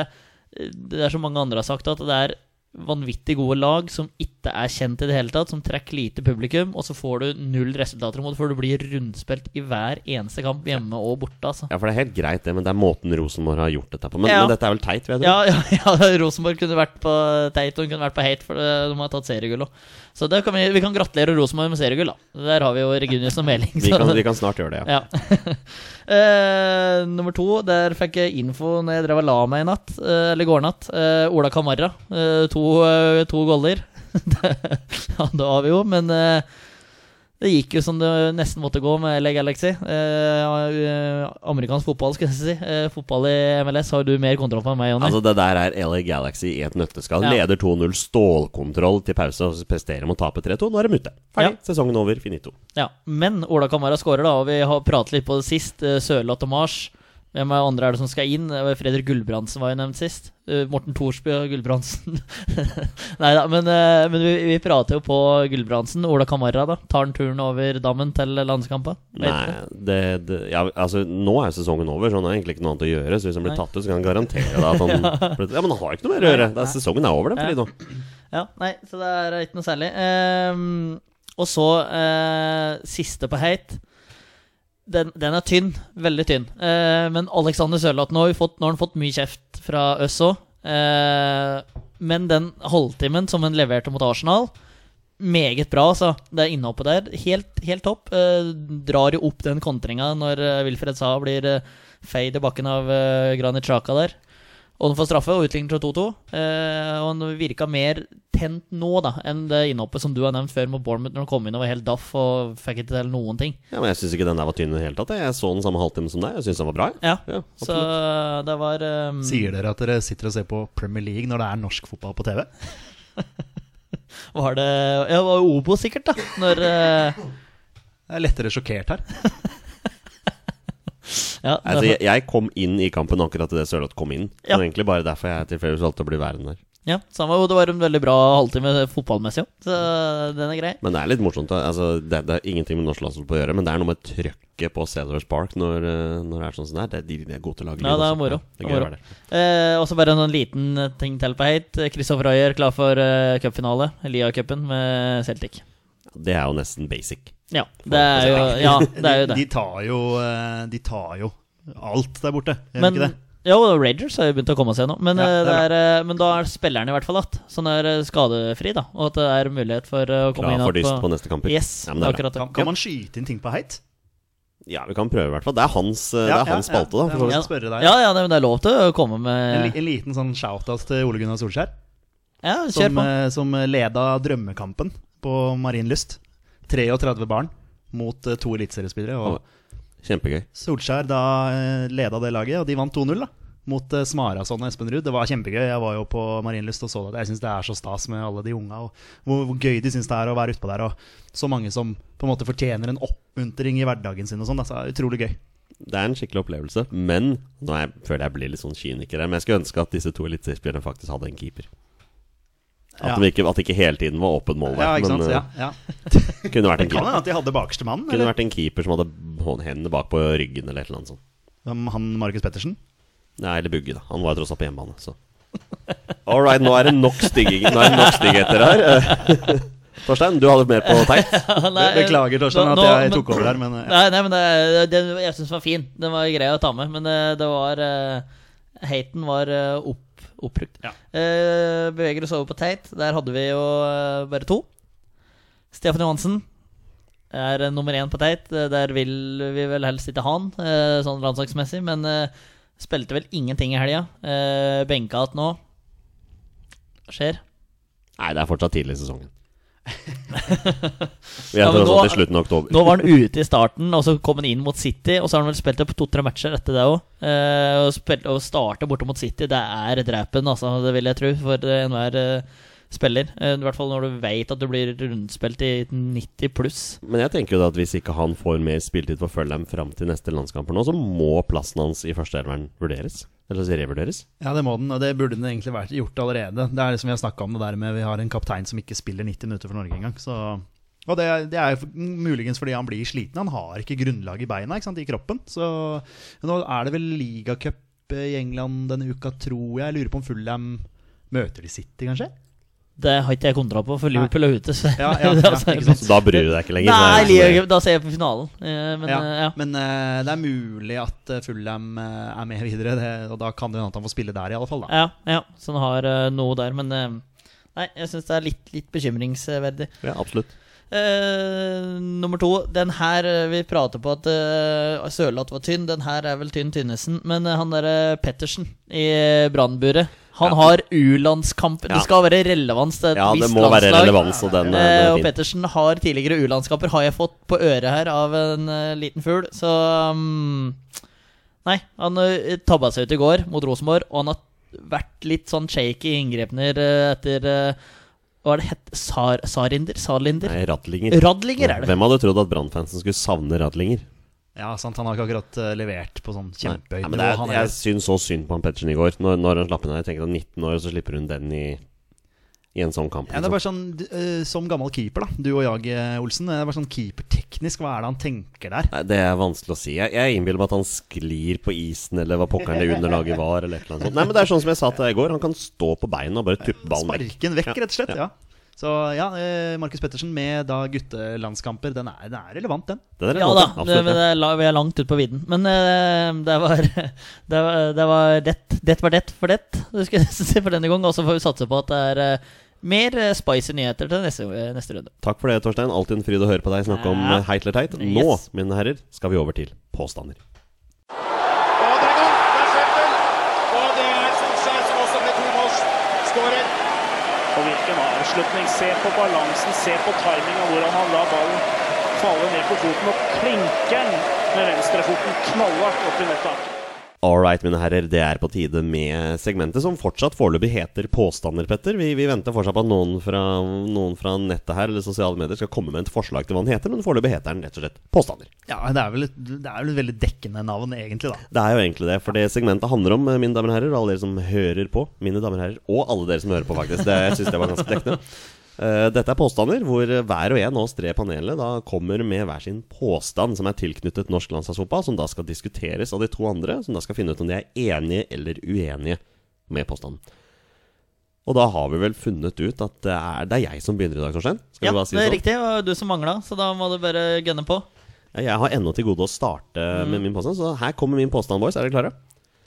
Speaker 2: Det er som mange andre har sagt, at det er vanvittig gode lag som ikke er kjent i det hele tatt, som trekker lite publikum, og så får du null resultater imot, for du blir rundspilt i hver eneste kamp, hjemme og borte, altså.
Speaker 1: Ja, for det er helt greit, det, men det er måten Rosenborg har gjort dette på. Men,
Speaker 2: Ja.
Speaker 1: men dette er vel teit, vil jeg tro.
Speaker 2: Ja, ja, (laughs) ja, Rosenborg kunne vært på teit, og de kunne vært på hate, for eh, de har tatt seriegull òg. Så det kan vi, vi kan gratulere Rosenborg med seriegull, da. Der har vi jo Regunius og Meling.
Speaker 1: Vi,
Speaker 2: så-
Speaker 1: kan, vi kan snart gjøre det, ja.
Speaker 2: Ja. (laughs) Eh, nummer to, der fikk jeg info når jeg drev og la meg i natt, eh, eller i går natt. Eh, Ola Kamara. eh, to uh, to goller. (laughs) Det- ja, det har vi jo, men eh, det gikk jo som det nesten måtte gå med LA Galaxy. Eh, eh, amerikansk fotball, skulle jeg si. Eh, fotball i MLS har du mer kontroll på enn meg, Jonny.
Speaker 1: Altså Det der er LA Galaxy i et nøtteskall.
Speaker 2: Ja.
Speaker 1: Leder 2-0, stålkontroll til pause, og så presterer de å tape 3-2. Nå er de ute. Ferdig. Sesongen over, finito.
Speaker 2: Ja, men Ola Kamara skårer, da, og vi har pratet litt på det sist. eh, Sørloth og Mars. Hvem er andre er det som skal inn? Det var Fredrik Gulbrandsen var jo nevnt sist. Eh, Morten Thorsby og Gulbrandsen. (laughs) Nei da, men, eh, men vi, vi prater jo på Gulbrandsen. Ola Kamara da, tar han turen over dammen til landskampen? Vet
Speaker 1: Nei,
Speaker 2: du?
Speaker 1: det, det, ja, altså Nå er sesongen over, så han har egentlig ikke noe annet å gjøre. Så hvis han blir
Speaker 2: Nei.
Speaker 1: tatt ut, så kan han garantere deg
Speaker 2: (laughs)
Speaker 1: at han Ja, men han har ikke noe mer å gjøre. Det er, sesongen er over, den, fordi nå.
Speaker 2: Ja, nei, så det er ikke noe særlig. Ehm, og så eh, siste på heit. Den, den er tynn. Veldig tynn. Eh, men Alexander Sørloth nå, har vi fått- nå har han fått mye kjeft fra oss òg. Eh, men den halvtimen som han leverte mot Arsenal meget bra, altså. Det er innhoppet der. Helt, helt topp. Eh, drar jo opp den kontringa når eh, Wilfred Saha blir eh, feid i bakken av eh, Granit Xhaka der. Og den får straffe og utligner til 2-2. Eh, og han virka mer tent nå da enn det innhoppet som du har nevnt før med Bournemouth, når han kom inn og var helt daff og fikk ikke til noen ting.
Speaker 1: Ja, men jeg syns ikke den der var tynn i det hele tatt. jeg. Jeg så den samme halvtimen som deg. Jeg syns den var bra. jeg.
Speaker 2: Ja,
Speaker 1: Ja,
Speaker 2: Så
Speaker 1: absolutt.
Speaker 2: det var um,
Speaker 3: Sier dere at dere sitter og ser på Premier League når det er norsk fotball på TV?
Speaker 2: Var det Ja, det var jo Obo sikkert, da. Når eh,
Speaker 3: Jeg er lettere sjokkert her.
Speaker 2: Ja.
Speaker 1: Altså, jeg, jeg kom inn i kampen akkurat til det Sørloth kom inn.
Speaker 2: Ja.
Speaker 1: Så Det er egentlig bare derfor jeg tilfeldigvis valgte å bli værende der.
Speaker 2: ja samme, og det var en veldig bra halvtime fotballmessig òg, så den er grei.
Speaker 1: Men det er litt morsomt. da. Altså, det, det er ingenting med norsk landslag å gjøre, men det er noe med trøkket på Cedars Park når, eh, når det er sånn som det er. Det, de, de er gode til å lage
Speaker 2: Ja, det er
Speaker 1: altså.
Speaker 2: moro.
Speaker 1: det er
Speaker 2: Det er
Speaker 1: gøy å
Speaker 2: moro.
Speaker 1: være der.
Speaker 2: Eh, og så bare en liten ting til på heit. Christopher Ayer klar for eh, cupfinale. Lia-cupen med Celtic.
Speaker 1: Det er jo nesten basic.
Speaker 2: Ja, det er
Speaker 3: (laughs)
Speaker 2: jo, ja, det, er jo det.
Speaker 3: De, de, tar jo, eh, de tar jo alt der borte, gjør de
Speaker 2: Men,
Speaker 3: ikke det?
Speaker 2: Jo, Ragers har jo begynt å komme seg nå, men,
Speaker 3: Ja,
Speaker 2: eh, det
Speaker 3: det er
Speaker 2: er, eh, men da er spilleren i hvert fall igjen. Så han er eh, skadefri, da. Og at det er mulighet for eh, å komme
Speaker 1: Klar
Speaker 2: inn
Speaker 1: for
Speaker 2: igjen
Speaker 1: dyst på neste kamper.
Speaker 2: Yes,
Speaker 1: Ja, men det er bra.
Speaker 2: akkurat det.
Speaker 3: Kan, kan man skyte inn ting på heit?
Speaker 1: Ja, vi kan prøve i hvert fall. Det er hans, eh, det
Speaker 3: Ja,
Speaker 1: er hans
Speaker 3: ja, ja.
Speaker 1: spalte, da. For så
Speaker 3: Det
Speaker 1: vidt.
Speaker 3: er- spørre deg.
Speaker 2: Ja, ja, det, men det er lov til å komme
Speaker 3: En, li-
Speaker 2: med
Speaker 3: en liten sånn shout-out til Ole Gunnar Solskjær,
Speaker 2: Ja, kjør
Speaker 3: som,
Speaker 2: på.
Speaker 3: eh, som leda drømmekampen på Marienlyst. 33 barn mot eh, to eliteseriespillere. Og
Speaker 1: Kjempegøy.
Speaker 3: Solskjær da eh, leda det laget, og de vant 2-0 da mot eh, Smarason og Espen Ruud. Det var kjempegøy. Jeg var jo på Marienlyst og så det. Jeg syns det er så stas med alle de unga, og hvor, hvor gøy de syns det er å være utpå der. Og så mange som på en måte fortjener en oppmuntring i hverdagen sin og sånn. Det er utrolig gøy.
Speaker 1: Det er en skikkelig opplevelse. Men nå er jeg, føler jeg blir litt sånn kyniker her. Men jeg skulle ønske at disse to eliteseriespillerne faktisk hadde en keeper. At,
Speaker 3: Ja.
Speaker 1: de ikke, at det ikke hele tiden var åpen mål der.
Speaker 3: Ja, ikke
Speaker 1: men eh,
Speaker 3: sant? Ja, ja.
Speaker 1: kunne vært
Speaker 3: Det
Speaker 1: en
Speaker 3: kan
Speaker 1: keeper.
Speaker 3: hende at de hadde bakerste mann.
Speaker 1: Kunne vært en keeper som hadde hå- hendene bak på ryggen eller et eller annet sånt.
Speaker 3: Hvem, han Markus Pettersen?
Speaker 1: Nei, eller Bugge, da. Han var jo tross alt på hjemmebane, så All right, nå er det nok stygging Nå er det nok styggheter her. (laughs) Eh, Torstein, du hadde mer på teit.
Speaker 2: (laughs) Nei, eh,
Speaker 3: Beklager, Torstein,
Speaker 2: nå-
Speaker 3: at
Speaker 2: nå-
Speaker 3: jeg
Speaker 2: men-
Speaker 3: tok over der, men eh,
Speaker 2: Nei, nei, men det, det, jeg syns den var fin. Den var grei å ta med, men eh, det var eh, Haten var eh, opp, oppbrukt.
Speaker 3: Ja.
Speaker 2: Eh, beveger oss over på Tate. Der hadde vi jo eh, bare to. Stefan Johansen er eh, nummer én på Tate. Eh, Der vil vi vel helst ikke ha han, eh, sånn landslagsmessig, men eh, spilte vel ingenting i helga. Eh, benka igjen nå. Skjer.
Speaker 1: Nei, det er fortsatt tidlig i sesongen. Vi
Speaker 2: Ja,
Speaker 1: er
Speaker 2: men
Speaker 1: tross alt i
Speaker 2: nå-
Speaker 1: slutten av oktober.
Speaker 2: Nå var han ute i starten, og så kom han inn mot City. Og så har han vel spilt det på to-tre matcher etter det Eh, òg. Å spille- å starte borte mot City, det er drepen, altså. Det vil jeg tro for eh, enhver eh, spiller. Eh, I hvert fall når du veit at du blir rundspilt i 90 pluss.
Speaker 1: Men jeg tenker jo da at hvis ikke han får mer spilletid for Følheim fram til neste landskamper nå, så må plassen hans i førsteelveren vurderes. Eller så revurderes.
Speaker 3: ja, det må den, og det burde den egentlig vært gjort allerede. Det er liksom Vi har snakka om det der med vi har en kaptein som ikke spiller 90 minutter for Norge engang. Så. Og det, det er jo for- muligens fordi han blir sliten. Han har ikke grunnlag i beina, ikke sant, i kroppen. Så nå er det vel ligacup i England denne uka, tror jeg. Jeg lurer på om Fulham møter de City, kanskje?
Speaker 2: Det har ikke jeg kontroll på, for Liverpool er ute. Så.
Speaker 3: Ja,
Speaker 2: (laughs)
Speaker 3: ja, ja, ikke sant.
Speaker 1: Så da bryr du deg ikke lenger.
Speaker 2: Nei,
Speaker 1: så er det-
Speaker 2: Liverpool- da ser jeg på finalen. Eh, Men
Speaker 3: ja.
Speaker 2: eh, ja.
Speaker 3: men eh, det er mulig at eh, Fulham eh, er med videre, det, og da kan det hende at han får spille der, i alle fall. da
Speaker 2: Ja, ja. Så han har eh, noe der, men eh, Nei, jeg syns det er litt, litt bekymringsverdig.
Speaker 1: sånn- Ja, absolutt.
Speaker 2: Eh, nummer to. Den her eh, Vi prater på at uh, Sørloth var tynn. Den her er vel tynn Tynnesen. Men eh, han derre Pettersen i eh, Brannburet Han
Speaker 1: Ja.
Speaker 2: har U-landskamper.
Speaker 1: Ja.
Speaker 2: Det skal være relevans til et
Speaker 1: Ja, det
Speaker 2: visst
Speaker 1: må være
Speaker 2: landslag.
Speaker 1: relevans, og den, eh,
Speaker 2: Eh,
Speaker 1: den er
Speaker 2: og
Speaker 1: fin.
Speaker 2: Pettersen har tidligere U-landskamper, har jeg fått på øret her av en eh, liten fugl. Så mm, Nei, han eh, tabba seg ut i går mot Rosenborg, og han har vært litt sånn shaky i inngrepene eh, etter eh, Hva er det het? Sar, Sarinder? Sarlinder?
Speaker 1: Nei, Radlinger.
Speaker 2: Radlinger er det.
Speaker 1: Hvem hadde trodd at Brannfansen skulle savne Radlinger?
Speaker 3: Ja, sant, Han har ikke akkurat eh, levert på sånn
Speaker 1: Nei,
Speaker 3: kjempehøyt
Speaker 1: men det er,
Speaker 3: nivå. Han er-
Speaker 1: jeg syns så synd på han Pettersen i går. Når, når han slapp inn her, jeg tenker at 19 år, og så slipper hun den i, i en sånn kamp.
Speaker 3: Ja, det
Speaker 1: liksom.
Speaker 3: er bare sånn, d- eh, Som gammel keeper, da, du og jeg, eh, Olsen. Det er bare sånn Keeperteknisk, hva er det han tenker der?
Speaker 1: Nei, det er vanskelig å si. Jeg, jeg innbiller meg at han sklir på isen, eller hva pokkeren det underlaget var, eller et eller annet sånt. Nei, men det er sånn som jeg sa til deg i går. Han kan stå på beina og bare tuppe ballen vekk.
Speaker 3: Sparken vekk, rett og slett. ja Så ja, eh, Markus Pettersen med da guttelandskamper, den er, den er relevant, den.
Speaker 1: Den er
Speaker 2: Ja da,
Speaker 1: relevant,
Speaker 2: det, men
Speaker 1: absolutt.
Speaker 2: det er, la- vi er langt ut på vidden. Men eh, det var (laughs) Det var, det var det, det var det for det, du (laughs) skulle jeg si for denne gang. Og så får vi satse på at det er eh, mer eh, spicy nyheter til neste, eh, neste runde.
Speaker 1: Takk for det, Torstein. Alltid en fryd å høre på deg snakke om
Speaker 2: Ja.
Speaker 1: eh, heit eller teit. Nå,
Speaker 2: Yes.
Speaker 1: mine herrer, skal vi over til påstander.
Speaker 4: Og der går den! Der skjøt den! Og det er Solskjær som også ble tomålsskårer.
Speaker 6: Og hvilken avslutning. Se på balansen, se på timinga, hvordan han lar ballen falle ned på foten og klinker den med venstrefoten knallhardt opp i nettet.
Speaker 1: All right, mine herrer, det er på tide med segmentet som fortsatt foreløpig heter Påstander, Petter. Vi, vi venter fortsatt på at noen fra, noen fra nettet her eller sosiale medier skal komme med et forslag til hva den heter, men foreløpig heter den rett og slett Påstander.
Speaker 3: Ja, Det er vel et, det er vel et veldig dekkende navn, egentlig, da.
Speaker 1: Det er jo egentlig det, for det segmentet handler om, eh, mine damer og herrer, alle dere som hører på, mine damer og herrer, og alle dere som hører på, faktisk. Det, jeg synes det var ganske dekkende. Eh, dette er påstander hvor hver og en av oss tre i panelet da kommer med hver sin påstand som er tilknyttet norsk landslagsfotball, som da skal diskuteres av de to andre, som da skal finne ut om de er enige eller uenige med påstanden. Og da har vi vel funnet ut at det er, det er jeg som begynner i dag, Torstein? Skal
Speaker 2: Ja,
Speaker 1: vi bare si
Speaker 2: det er
Speaker 1: sånn?
Speaker 2: riktig. Det var jo du som mangla, så da må du bare gønne på.
Speaker 1: eh,
Speaker 2: Mm.
Speaker 1: Ja, Jeg har ennå til gode å starte med min påstand, så her kommer min påstand, boys. Er dere klare?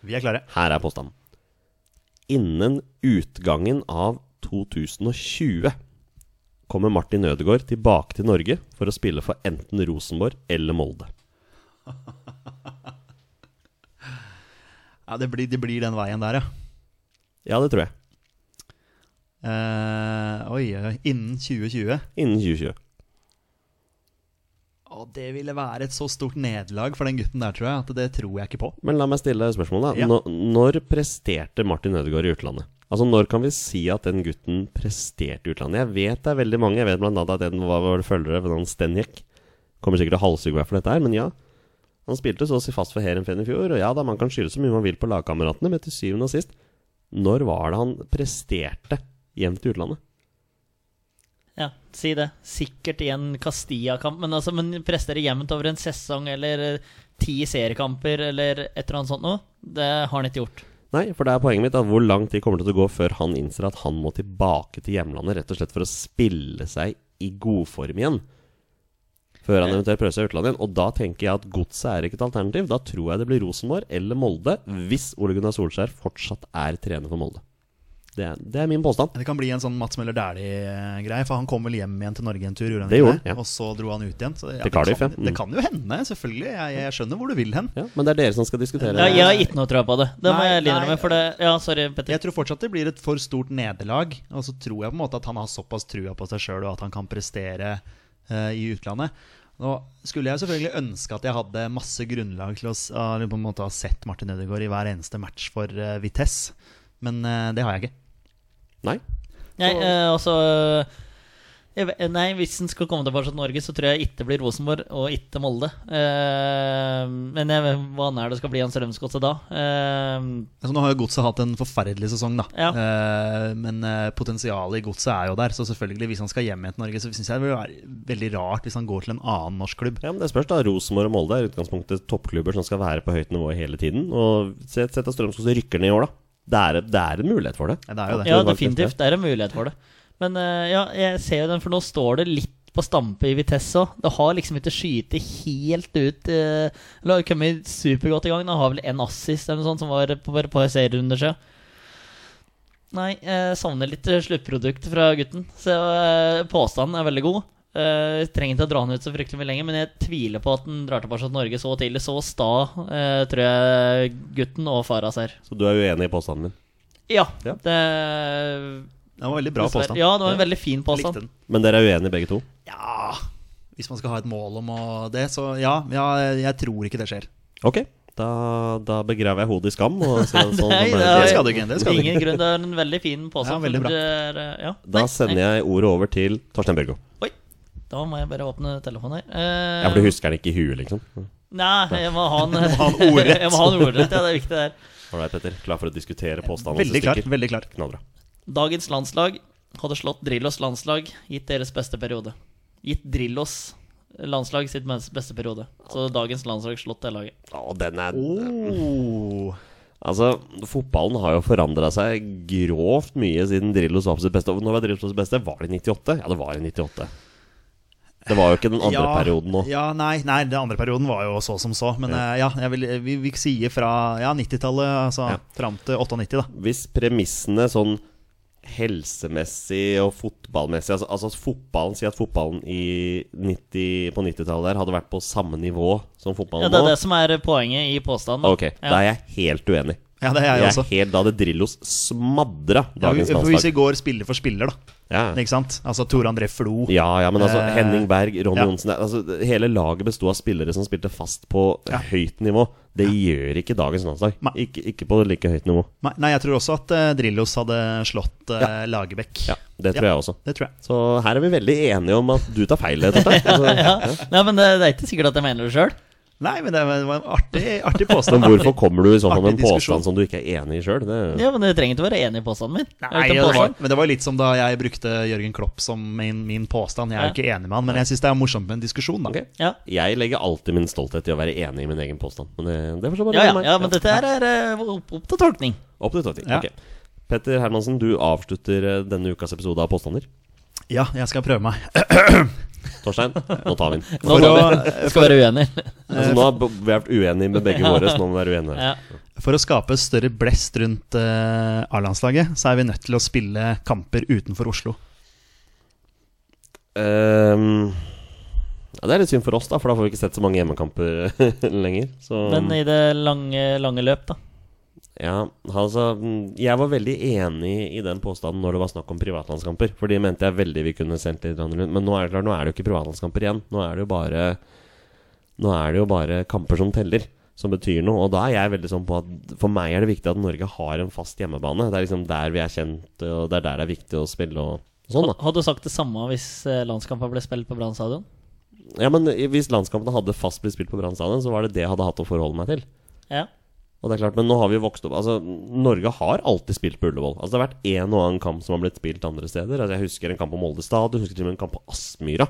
Speaker 3: Vi er klare.
Speaker 1: Her er påstanden. Innen utgangen av 2020 kommer Martin Ødegaard tilbake til Norge for å spille for enten Rosenborg eller Molde.
Speaker 3: Ja, det blir, det blir den veien der, ja.
Speaker 1: Ja, det tror jeg.
Speaker 3: Eh, oi, oi, innen 2020.
Speaker 1: Innen 2020.
Speaker 3: Å, det ville være et så stort nederlag for den gutten der, tror jeg, at det tror jeg ikke på.
Speaker 1: Men la meg stille spørsmålet. da.
Speaker 3: Ja.
Speaker 1: Nå- Når presterte Martin Ødegaard i utlandet? Altså, Når kan vi si at den gutten presterte i utlandet? Jeg vet det er veldig mange. Jeg vet blant annet at en var vår følgere ved navn Stenjek. Kommer sikkert til å halshugge meg for dette her, men ja. Han spilte så å si fast for Heerenveen i fjor, og ja da, man kan skylde så mye man vil på lagkameratene, men til syvende og sist, når var det han presterte jevnt i utlandet?
Speaker 2: Ja, si det. Sikkert i en Castilla-kamp, men, altså, men presterer jevnt over en sesong eller eh, ti seriekamper eller et eller annet sånt noe, det har han ikke gjort.
Speaker 1: Nei, for det er poenget mitt at hvor lang tid kommer det til å gå før han innser at han må tilbake til hjemlandet rett og slett for å spille seg i godform igjen? Før han eventuelt prøver seg i utlandet igjen. Og da tenker jeg at godset er ikke et alternativ. Da tror jeg det blir Rosenborg eller Molde, hvis Ole Gunnar Solskjær fortsatt er trener for Molde. Det er, det er min påstand.
Speaker 3: Det kan bli en sånn Mats Møller Dæhlie-greie, for han kom vel hjem igjen til Norge en tur, gjorde han
Speaker 1: Det
Speaker 3: ikke
Speaker 1: gjorde han, ja.
Speaker 3: Og så dro han ut igjen. Så, det- ja,
Speaker 1: Til Cardiff, ja.
Speaker 3: det, kan,
Speaker 1: Mm.
Speaker 3: det kan jo hende, selvfølgelig. Jeg, jeg skjønner hvor du vil hen.
Speaker 1: Ja, men det er dere som skal diskutere.
Speaker 2: Ja, jeg har ikke noe tro på det. Det må
Speaker 3: Nei,
Speaker 2: jeg
Speaker 3: nei.
Speaker 2: innrømme. For det Ja, sorry, Petter.
Speaker 3: Jeg tror fortsatt det blir et for stort nederlag. Og så tror jeg på en måte at han har såpass trua på seg sjøl og at han kan prestere eh, i utlandet. Nå skulle jeg selvfølgelig ønske at jeg hadde masse grunnlag til å s- å på en måte ha sett Martin Ødegaard i hver eneste match for eh, Vitesse, men eh, det har jeg ikke.
Speaker 1: Nei?
Speaker 2: Nei, eh, altså jeg ve- Nei, hvis en skal komme tilbake til Norge, så tror jeg ikke det blir Rosenborg og ikke Molde. Eh, men jeg, vet hva nær det skal bli hans Strømsgodset da? Eh,
Speaker 3: Altså, nå har jo Godset hatt en forferdelig sesong, da.
Speaker 2: Ja.
Speaker 3: Eh, men eh, potensialet i Godset er jo der. Så selvfølgelig, hvis han skal hjem igjen til Norge, så syns jeg det vil være veldig rart hvis han går til en annen norsk klubb.
Speaker 1: Ja, men Det spørs, da. Rosenborg og Molde er i utgangspunktet toppklubber som skal være på høyt nivå hele tiden. Og sett sett at Strømskog rykker ned i år, da. Det er, det er en mulighet for det.
Speaker 3: Ja, det er jo det.
Speaker 2: Ja,
Speaker 1: tror jeg faktisk
Speaker 2: definitivt. Det er en mulighet for det. Men eh, ja, jeg ser jo den, for nå står det litt på stampe i Vitesse òg. Det har liksom ikke skyte helt ut eh, Eller har kommet supergodt i gang. Det har vel en assist eller noe sånt som var på, på en serierunde siden. Nei, jeg savner litt eh, sluttprodukt fra gutten. Så eh, påstanden er veldig god. Eh, trenger ikke å dra han ut så fryktelig mye lenger, men jeg tviler på at han drar tilbake til Norge så tidlig. Så sta eh, tror jeg gutten og fara ser.
Speaker 1: Så du er uenig i påstanden min.
Speaker 2: Ja,
Speaker 1: Ja.
Speaker 2: det
Speaker 3: Det var en veldig bra
Speaker 2: Dessverre.
Speaker 3: påstand.
Speaker 2: Ja, det var en veldig fin
Speaker 3: Jeg likte
Speaker 2: påstand.
Speaker 3: den.
Speaker 1: Men dere er uenige begge to?
Speaker 3: Ja Hvis man skal ha et mål om å det, så ja. ja jeg tror ikke det skjer.
Speaker 1: Ok, da, da begraver jeg hodet i skam. (laughs) Og så, sånn
Speaker 2: Nei,
Speaker 1: ble
Speaker 2: det er-
Speaker 3: Det
Speaker 1: det.
Speaker 3: skal du ikke. Det skal du ikke. (laughs)
Speaker 2: Ingen grunn. Det er en veldig fin påstand.
Speaker 3: Ja, veldig
Speaker 2: for
Speaker 3: bra.
Speaker 2: det er, eh, ja.
Speaker 1: Da sender jeg ordet over til Torstein Børgo.
Speaker 2: Da må jeg bare åpne telefonen her.
Speaker 1: Ja,
Speaker 2: Eh,
Speaker 1: for du husker den ikke i huet, liksom?
Speaker 2: Nei, jeg må ha en,
Speaker 3: (laughs) ha en ordrett.
Speaker 2: (laughs) jeg må ha en ordrett. Ja, det er viktig der.
Speaker 1: Ålreit, Petter. Klar for å diskutere påstander?
Speaker 3: Veldig klar. veldig klar
Speaker 1: Knallbra.
Speaker 2: Dagens landslag hadde slått Drillos landslag, gitt deres beste periode. Gitt Drillos landslag sitt mens- beste periode. Så dagens landslag slått det laget.
Speaker 1: Å, den er
Speaker 3: Oh.
Speaker 1: Altså, fotballen har jo forandra seg grovt mye siden Drillos var på sitt beste. Og Når var Drillos på sitt beste? Var det i 98? Ja, det var i 98. Det var jo ikke den andre perioden nå.
Speaker 3: Ja, nei, nei, den andre perioden var jo så som så. Men eh, ja, jeg vil, vi, vi sier fra ja, 90-tallet altså,
Speaker 1: Ja.
Speaker 3: fram til 98, da.
Speaker 1: Hvis premissene sånn helsemessig og fotballmessig Altså, altså at fotballen, si at fotballen i 90, på 90-tallet der hadde vært på samme nivå som fotballen
Speaker 2: Ja, det er
Speaker 1: nå
Speaker 2: det som er poenget i påstanden. da.
Speaker 1: Ok, da
Speaker 2: ja.
Speaker 1: er jeg helt uenig.
Speaker 3: Ja, det er jeg
Speaker 1: Jeg
Speaker 3: også.
Speaker 1: er helt, da hadde Drillos smadra
Speaker 3: Ja, vi-
Speaker 1: dagens
Speaker 3: for hvis vi
Speaker 1: landslag.
Speaker 3: går spiller for spiller, da.
Speaker 1: Ja.
Speaker 3: Ikke sant? Altså Tore André Flo.
Speaker 1: ja, ja, men altså
Speaker 3: Eh,
Speaker 1: Henning Berg, Ronny
Speaker 3: ja.
Speaker 1: Johnsen det- altså, det- Hele laget besto av spillere som spilte fast på høyt nivå. Det gjør ikke dagens landslag.
Speaker 3: Nei.
Speaker 1: Ikke, ikke på like høyt nivå.
Speaker 3: Nei, Nei, jeg tror også at eh, Drillos hadde slått eh, Lagerbäck.
Speaker 1: Ja, Det tror
Speaker 3: Ja.
Speaker 1: jeg også.
Speaker 3: Det tror jeg.
Speaker 1: Så her er vi veldig enige om at du tar feil,
Speaker 2: (laughs)
Speaker 1: Torstein. Altså,
Speaker 2: Nei, men det, det er ikke sikkert at jeg mener det sjøl.
Speaker 3: Nei, men det var var en artig, artig
Speaker 1: Men
Speaker 3: påstand.
Speaker 1: hvorfor kommer du i så fall med en
Speaker 3: Artig diskusjon.
Speaker 1: påstand som du ikke er enig i sjøl? Det...
Speaker 2: Ja, men du trenger ikke være enig i påstanden min. Det er
Speaker 3: Nei,
Speaker 2: ikke en
Speaker 3: det var,
Speaker 2: påstand.
Speaker 3: men det var litt som da jeg brukte Jørgen Klopp som min, min påstand. Jeg er jo ikke enig med han, men jeg syns det er morsomt med en diskusjon, da.
Speaker 1: Ok.
Speaker 2: Ja.
Speaker 1: Jeg legger alltid min stolthet i å være enig i min egen påstand. Men det, det får så bare
Speaker 2: Ja,
Speaker 1: være
Speaker 2: ja,
Speaker 1: meg.
Speaker 2: ja, men dette her er eh, opp, opp til tolkning.
Speaker 1: Opp til tolvtid.
Speaker 3: Ja.
Speaker 1: Ok. Petter Hermansen, du avslutter eh, denne ukas episode av Påstander.
Speaker 3: Ja, jeg skal prøve meg.
Speaker 1: Torstein, nå tar vi
Speaker 2: (laughs)
Speaker 1: den.
Speaker 2: Nå
Speaker 3: For
Speaker 2: tar
Speaker 3: å-
Speaker 2: vi den. skal være uenig.
Speaker 1: Altså, nå har vi vært uenige med begge våre, så nå må vi være uenige.
Speaker 2: (laughs) Ja.
Speaker 3: For å skape større blest rundt eh, A-landslaget, så er vi nødt til å spille kamper utenfor Oslo.
Speaker 1: Ehm, ja, det er litt synd for oss, da, for da får vi ikke sett så mange hjemmekamper (laughs) lenger. Så,
Speaker 2: Men i det lange, lange løp, da.
Speaker 1: ja, altså, mm, jeg var veldig enig i den påstanden når det var snakk om privatlandskamper. For de mente jeg veldig vi kunne sendt litt rundt. Men nå er det klart, nå er det jo ikke privatlandskamper igjen. Nå er det jo bare Nå er det jo bare kamper som teller, som betyr noe. Og da er jeg veldig sånn på at for meg er det viktig at Norge har en fast hjemmebane. Det er liksom der vi er kjent, og det er der det er viktig å spille og sånn, da.
Speaker 2: Hadde du sagt det samme hvis eh, landskampen ble spilt på Brann stadion?
Speaker 1: Ja, men Hvis landskampene hadde fast blitt spilt på Brann stadion, så var det det jeg hadde hatt å forholde meg til.
Speaker 2: Ja.
Speaker 1: Og det er klart, Men nå har vi jo vokst opp Altså, Norge har alltid spilt på Ullevål. Altså, Det har vært en og annen kamp som har blitt spilt andre steder. Altså, Jeg husker en kamp på Molde stadion, husker til og med en kamp på Aspmyra.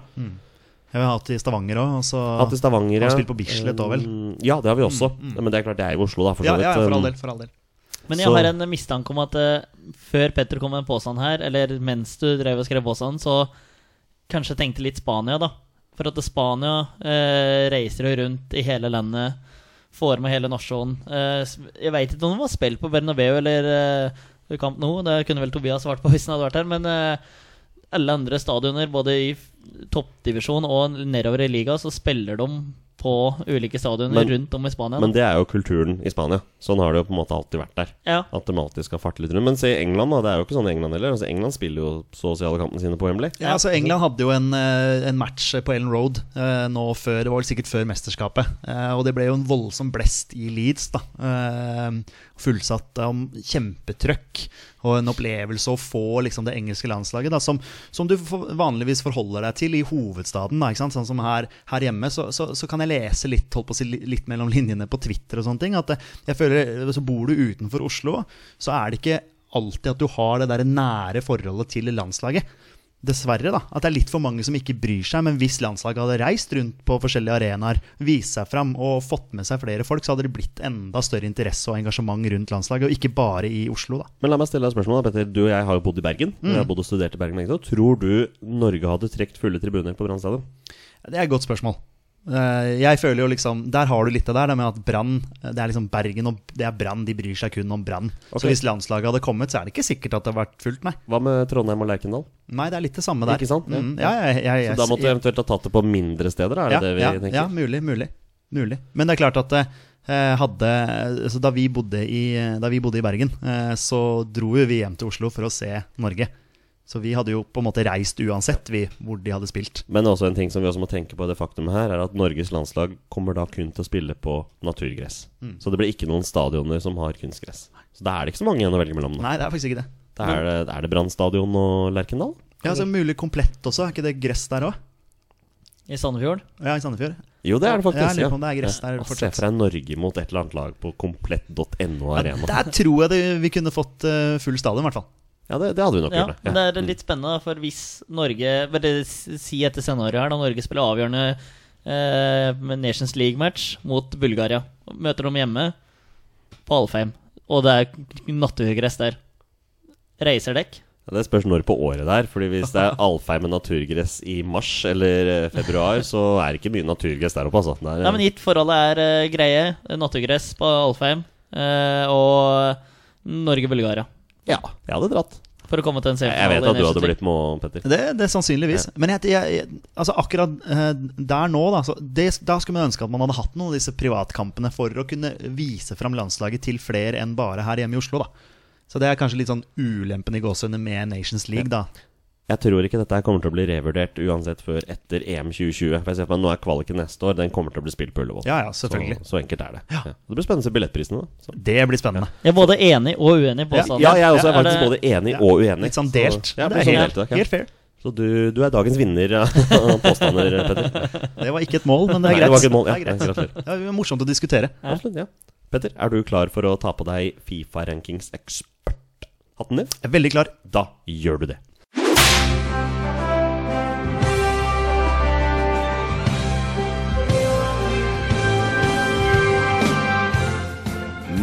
Speaker 3: Jeg har hatt det i Stavanger òg, og så
Speaker 1: Hatt i Stavanger.
Speaker 3: Har
Speaker 1: ja.
Speaker 3: spilt på Bislett også, vel?
Speaker 1: Mm, Ja, det har vi også. Men det er klart, det er jo Oslo, da. For så
Speaker 3: ja, ja,
Speaker 1: vidt.
Speaker 3: for all
Speaker 1: Um,
Speaker 3: del. For all del.
Speaker 2: Men jeg
Speaker 1: Så-
Speaker 2: har en mistanke om at eh, før Petter kom med en påstand her, eller mens du drev og skrev påstanden, så kanskje tenkte litt Spania, da. For at Spania eh, reiser jo rundt i hele landet, får med hele nasjonen. Eh, s- jeg veit ikke om det var spill på Bernabeu eller eh, Camp Nou, det kunne vel Tobias svart på (laughs) hvis han hadde vært her, men eh, alle andre stadioner, både i f- toppdivisjon og nedover i liga, så spiller de på ulike stadioner
Speaker 1: Men-
Speaker 2: rundt om i Spania. da.
Speaker 1: Um, Men det er jo kulturen i Spania. Sånn har det jo på en måte alltid vært der.
Speaker 2: ja.
Speaker 1: At de alltid skal farte litt rundt. Men se England, da. Det er jo ikke sånn i England heller. Altså, England spiller jo så å si alle kampene sine på Wembley.
Speaker 3: Ja, altså England hadde jo en, eh, en match på Ellen Road eh, nå før, det var vel sikkert før mesterskapet. Eh, og det ble jo en voldsom blest i Leeds. da eh, Fullsatt om kjempetrøkk og en opplevelse å få liksom, det engelske landslaget, da, som, som du for, vanligvis forholder deg til i hovedstaden. Da, ikke sant? Sånn som her, her hjemme, så, så, så kan jeg lese litt, holdt på å si, li- litt mellom linjene på Twitter og sånne ting. At eh, jeg føler, så bor du utenfor Oslo, så er det ikke alltid at du har det der nære forholdet til landslaget. Dessverre, da. At det er litt for mange som ikke bryr seg. Men hvis landslaget hadde reist rundt på forskjellige arenaer, vist seg fram og fått med seg flere folk, så hadde det blitt enda større interesse og engasjement rundt landslaget, og ikke bare i Oslo, da.
Speaker 1: Men la meg stille deg et spørsmål, da, Petter. Du og jeg har jo bodd i Bergen.
Speaker 3: Mm.
Speaker 1: Vi har bodd og studert i Bergen begge to. Tror du Norge hadde trukket fulle tribuner på Brann stadion?
Speaker 3: Det er et godt spørsmål. Eh, Jeg føler jo liksom Der har du litt av det der, det med at Brann Det er liksom Bergen og det er Brann, de bryr seg kun om Brann.
Speaker 1: Ok.
Speaker 3: Så hvis landslaget hadde kommet, så er det ikke sikkert at det hadde vært fullt, nei.
Speaker 1: Hva med Trondheim og Lerkendal?
Speaker 3: Nei, det er litt det samme der.
Speaker 1: Ikke sant? Ja.
Speaker 3: Mm, ja, jeg, jeg, jeg,
Speaker 1: Så da måtte du eventuelt ha tatt det på mindre steder, da, er det det vi
Speaker 3: ja,
Speaker 1: tenker?
Speaker 3: ja, mulig, mulig, mulig. Men det er klart at eh, hadde, så da, vi bodde i, da vi bodde i Bergen, eh, så dro jo vi hjem til Oslo for å se Norge. Så vi hadde jo på en måte reist uansett vi, hvor de hadde spilt.
Speaker 1: Men også en ting som vi også må tenke på i det faktumet her, er at Norges landslag kommer da kun til å spille på naturgress.
Speaker 3: Mm.
Speaker 1: Så det blir ikke noen stadioner som har kunstgress. Så da er det ikke så mange igjen å velge mellom. Da,
Speaker 3: Nei, det er faktisk ikke det.
Speaker 1: da er det, er det Brann stadion og Lerkendal?
Speaker 3: Ja, så Mulig komplett også, er ikke det gress der òg?
Speaker 2: I Sandefjord.
Speaker 3: Ja, i Sandefjord.
Speaker 1: Jo, det er det faktisk.
Speaker 3: Ja, jeg lurer på om det er gress der
Speaker 1: Ja, Se
Speaker 3: fortsatt.
Speaker 1: for deg Norge mot et eller annet lag på komplett.no
Speaker 3: Ja,
Speaker 1: arena.
Speaker 3: der tror jeg det, vi kunne fått eh, full stadion, i hvert fall.
Speaker 1: Ja, Mm. det, det hadde vi nok
Speaker 2: Ja,
Speaker 1: gjort.
Speaker 2: men det er litt spennende, da, for hvis Norge bare s- Si etter scenarioet her, da Norge spiller avgjørende eh, med Nations League-match mot Bulgaria. Møter dem hjemme på Alfheim, og det er naturgress der. Reiserdekk.
Speaker 1: Ja, Det spørs når på året det er. Fordi hvis
Speaker 3: (laughs)
Speaker 1: det er Alfheim med naturgress i mars eller eh, februar, så er det ikke mye naturgress der oppe, altså. Det er,
Speaker 2: Nei, men gitt forholdet er eh, greie, naturgress på Alfheim eh, og Norge-Bulgaria
Speaker 1: ja, jeg hadde dratt.
Speaker 2: for å komme til en
Speaker 1: Jeg, jeg
Speaker 2: semifinale.
Speaker 1: vet at du
Speaker 2: i Nations
Speaker 1: hadde
Speaker 2: League.
Speaker 1: blitt med, Petter.
Speaker 3: Det, det er sannsynligvis. Men jeg, jeg, jeg, altså akkurat eh, der nå, da, så det, da skulle man ønske at man hadde hatt noen av disse privatkampene for å kunne vise fram landslaget til flere enn bare her hjemme i Oslo. da så det er kanskje litt sånn ulempen i gåsehudene med Nations League, da.
Speaker 1: Jeg tror ikke dette her kommer til å bli revurdert uansett før etter EM 2020. For jeg ser for meg, Nå er kvaliken neste år, den kommer til å bli spilt på Ullevål.
Speaker 3: Ja, ja, selvfølgelig.
Speaker 1: Så, så enkelt er det. Ja. Det blir spennende å se billettprisene. da. Så.
Speaker 3: Det blir spennende.
Speaker 2: Jeg er både enig og uenig på påstanden.
Speaker 1: sånn, Ja, jeg også er
Speaker 2: Er
Speaker 1: faktisk
Speaker 2: det-
Speaker 1: både enig og uenig.
Speaker 3: Litt sånn delt.
Speaker 1: Så, ja,
Speaker 3: Men
Speaker 1: det
Speaker 3: det er
Speaker 1: sånn
Speaker 3: helt,
Speaker 1: delt i dag, ja.
Speaker 3: helt fair.
Speaker 1: så du, du er dagens vinner
Speaker 3: (laughs)
Speaker 1: av påstander, Petter.
Speaker 3: Det var ikke et mål, men det
Speaker 1: Nei,
Speaker 3: er
Speaker 1: det
Speaker 3: greit.
Speaker 1: var ikke et mål. Ja,
Speaker 3: Det er greit.
Speaker 1: gratulerer.
Speaker 3: Ja, det var morsomt å diskutere.
Speaker 2: Ja.
Speaker 1: Absolutt, ja. Petter, er du klar for å ta på deg Fifa Rankings Expert-hatten din?
Speaker 3: Jeg er Veldig klar.
Speaker 1: Da gjør du det.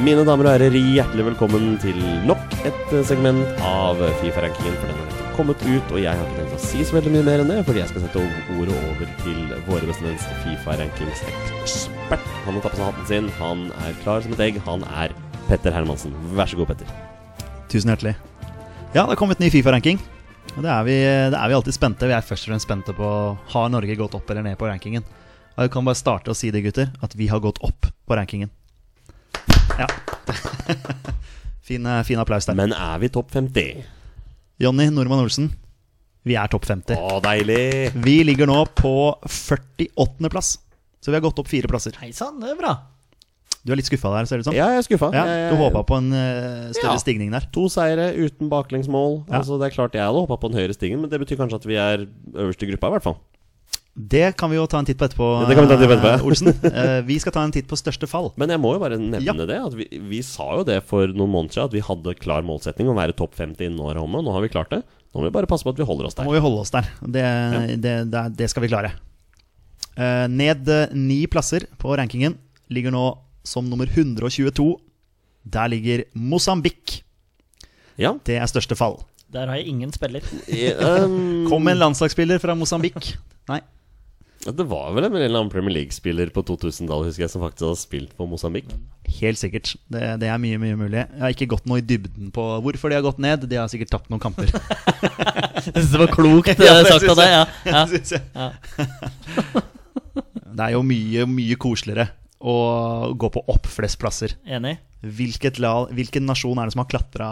Speaker 1: Mine damer og herrer, hjertelig velkommen til nok et eh, segment av Fifa-rankingen. For den har nettopp kommet ut, og jeg har ikke tenkt å si så veldig mye mer enn det, fordi jeg skal sette ordet over til våre beste venns Fifa-rankings-ekspert. Han har tatt på seg hatten sin, han er klar som et egg, han er Petter Hermansen. Vær så god, Petter.
Speaker 3: Tusen hjertelig. Ja, det har kommet ny Fifa-ranking. Og det er, vi, det er vi alltid spente. Vi er først og fremst spente på har Norge gått opp eller ned på rankingen. Og jeg kan bare starte å si det, gutter, at vi har gått opp på rankingen. Ja. (laughs) fin, eh, fin applaus der.
Speaker 1: Men er vi topp 50?
Speaker 3: Jonny Normann Olsen, vi er topp 50.
Speaker 1: Å, deilig!
Speaker 3: Vi ligger nå på 48. plass. Så vi har gått opp fire plasser.
Speaker 2: Hei sann, det er bra.
Speaker 3: Du er litt skuffa der, ser det ut som?
Speaker 1: Ja, jeg er skuffa.
Speaker 3: Ja,
Speaker 1: Jeg-
Speaker 3: du håpa på en eh, større
Speaker 1: Ja.
Speaker 3: stigning der.
Speaker 1: To seire uten baklengsmål.
Speaker 3: Ja.
Speaker 1: Altså, det er klart jeg hadde håpa på den høyere stigen, men det betyr kanskje at vi er øverst i gruppa, i hvert fall.
Speaker 3: Det kan vi jo ta en titt på etterpå,
Speaker 1: Det kan vi ta en titt på etterpå, ja.
Speaker 3: eh, Olsen. Eh, vi skal ta en titt på største fall.
Speaker 1: Men jeg må jo bare nevne
Speaker 3: Ja.
Speaker 1: det. At vi, vi sa jo det for noen måneder siden, at vi hadde klar målsetning om å være topp 50 innen året omme. Nå har vi klart det. Nå må vi bare passe på at vi holder oss
Speaker 3: Da
Speaker 1: der.
Speaker 3: må vi holde oss der. Det, det, det, er- det skal vi klare. Eh, ned eh, ni plasser på rankingen. Ligger nå som nummer 122. Der ligger Mosambik.
Speaker 1: Ja.
Speaker 3: Det er største fall.
Speaker 2: Der har jeg ingen spiller.
Speaker 1: I, um,
Speaker 3: Kom en landslagsspiller fra
Speaker 1: (laughs)
Speaker 3: Mosambik. Nei,
Speaker 1: det var vel en eller annen Premier League-spiller på 2000-tallet, husker jeg, som faktisk hadde spilt på Mosambik.
Speaker 3: helt sikkert. Det, det er mye, mye mulig. Jeg har ikke gått noe i dybden på hvorfor de har gått ned. De har sikkert tapt noen kamper.
Speaker 2: Jeg syns det var klokt
Speaker 3: Ja,
Speaker 2: eh,
Speaker 3: det
Speaker 2: sagt
Speaker 3: synes
Speaker 2: av deg. Ja. Ja.
Speaker 3: synes jeg.
Speaker 2: Ja.
Speaker 3: det er jo mye, mye koseligere å gå på opp flest plasser.
Speaker 2: Enig.
Speaker 3: Hvilket la, hvilken nasjon er det som har klatra,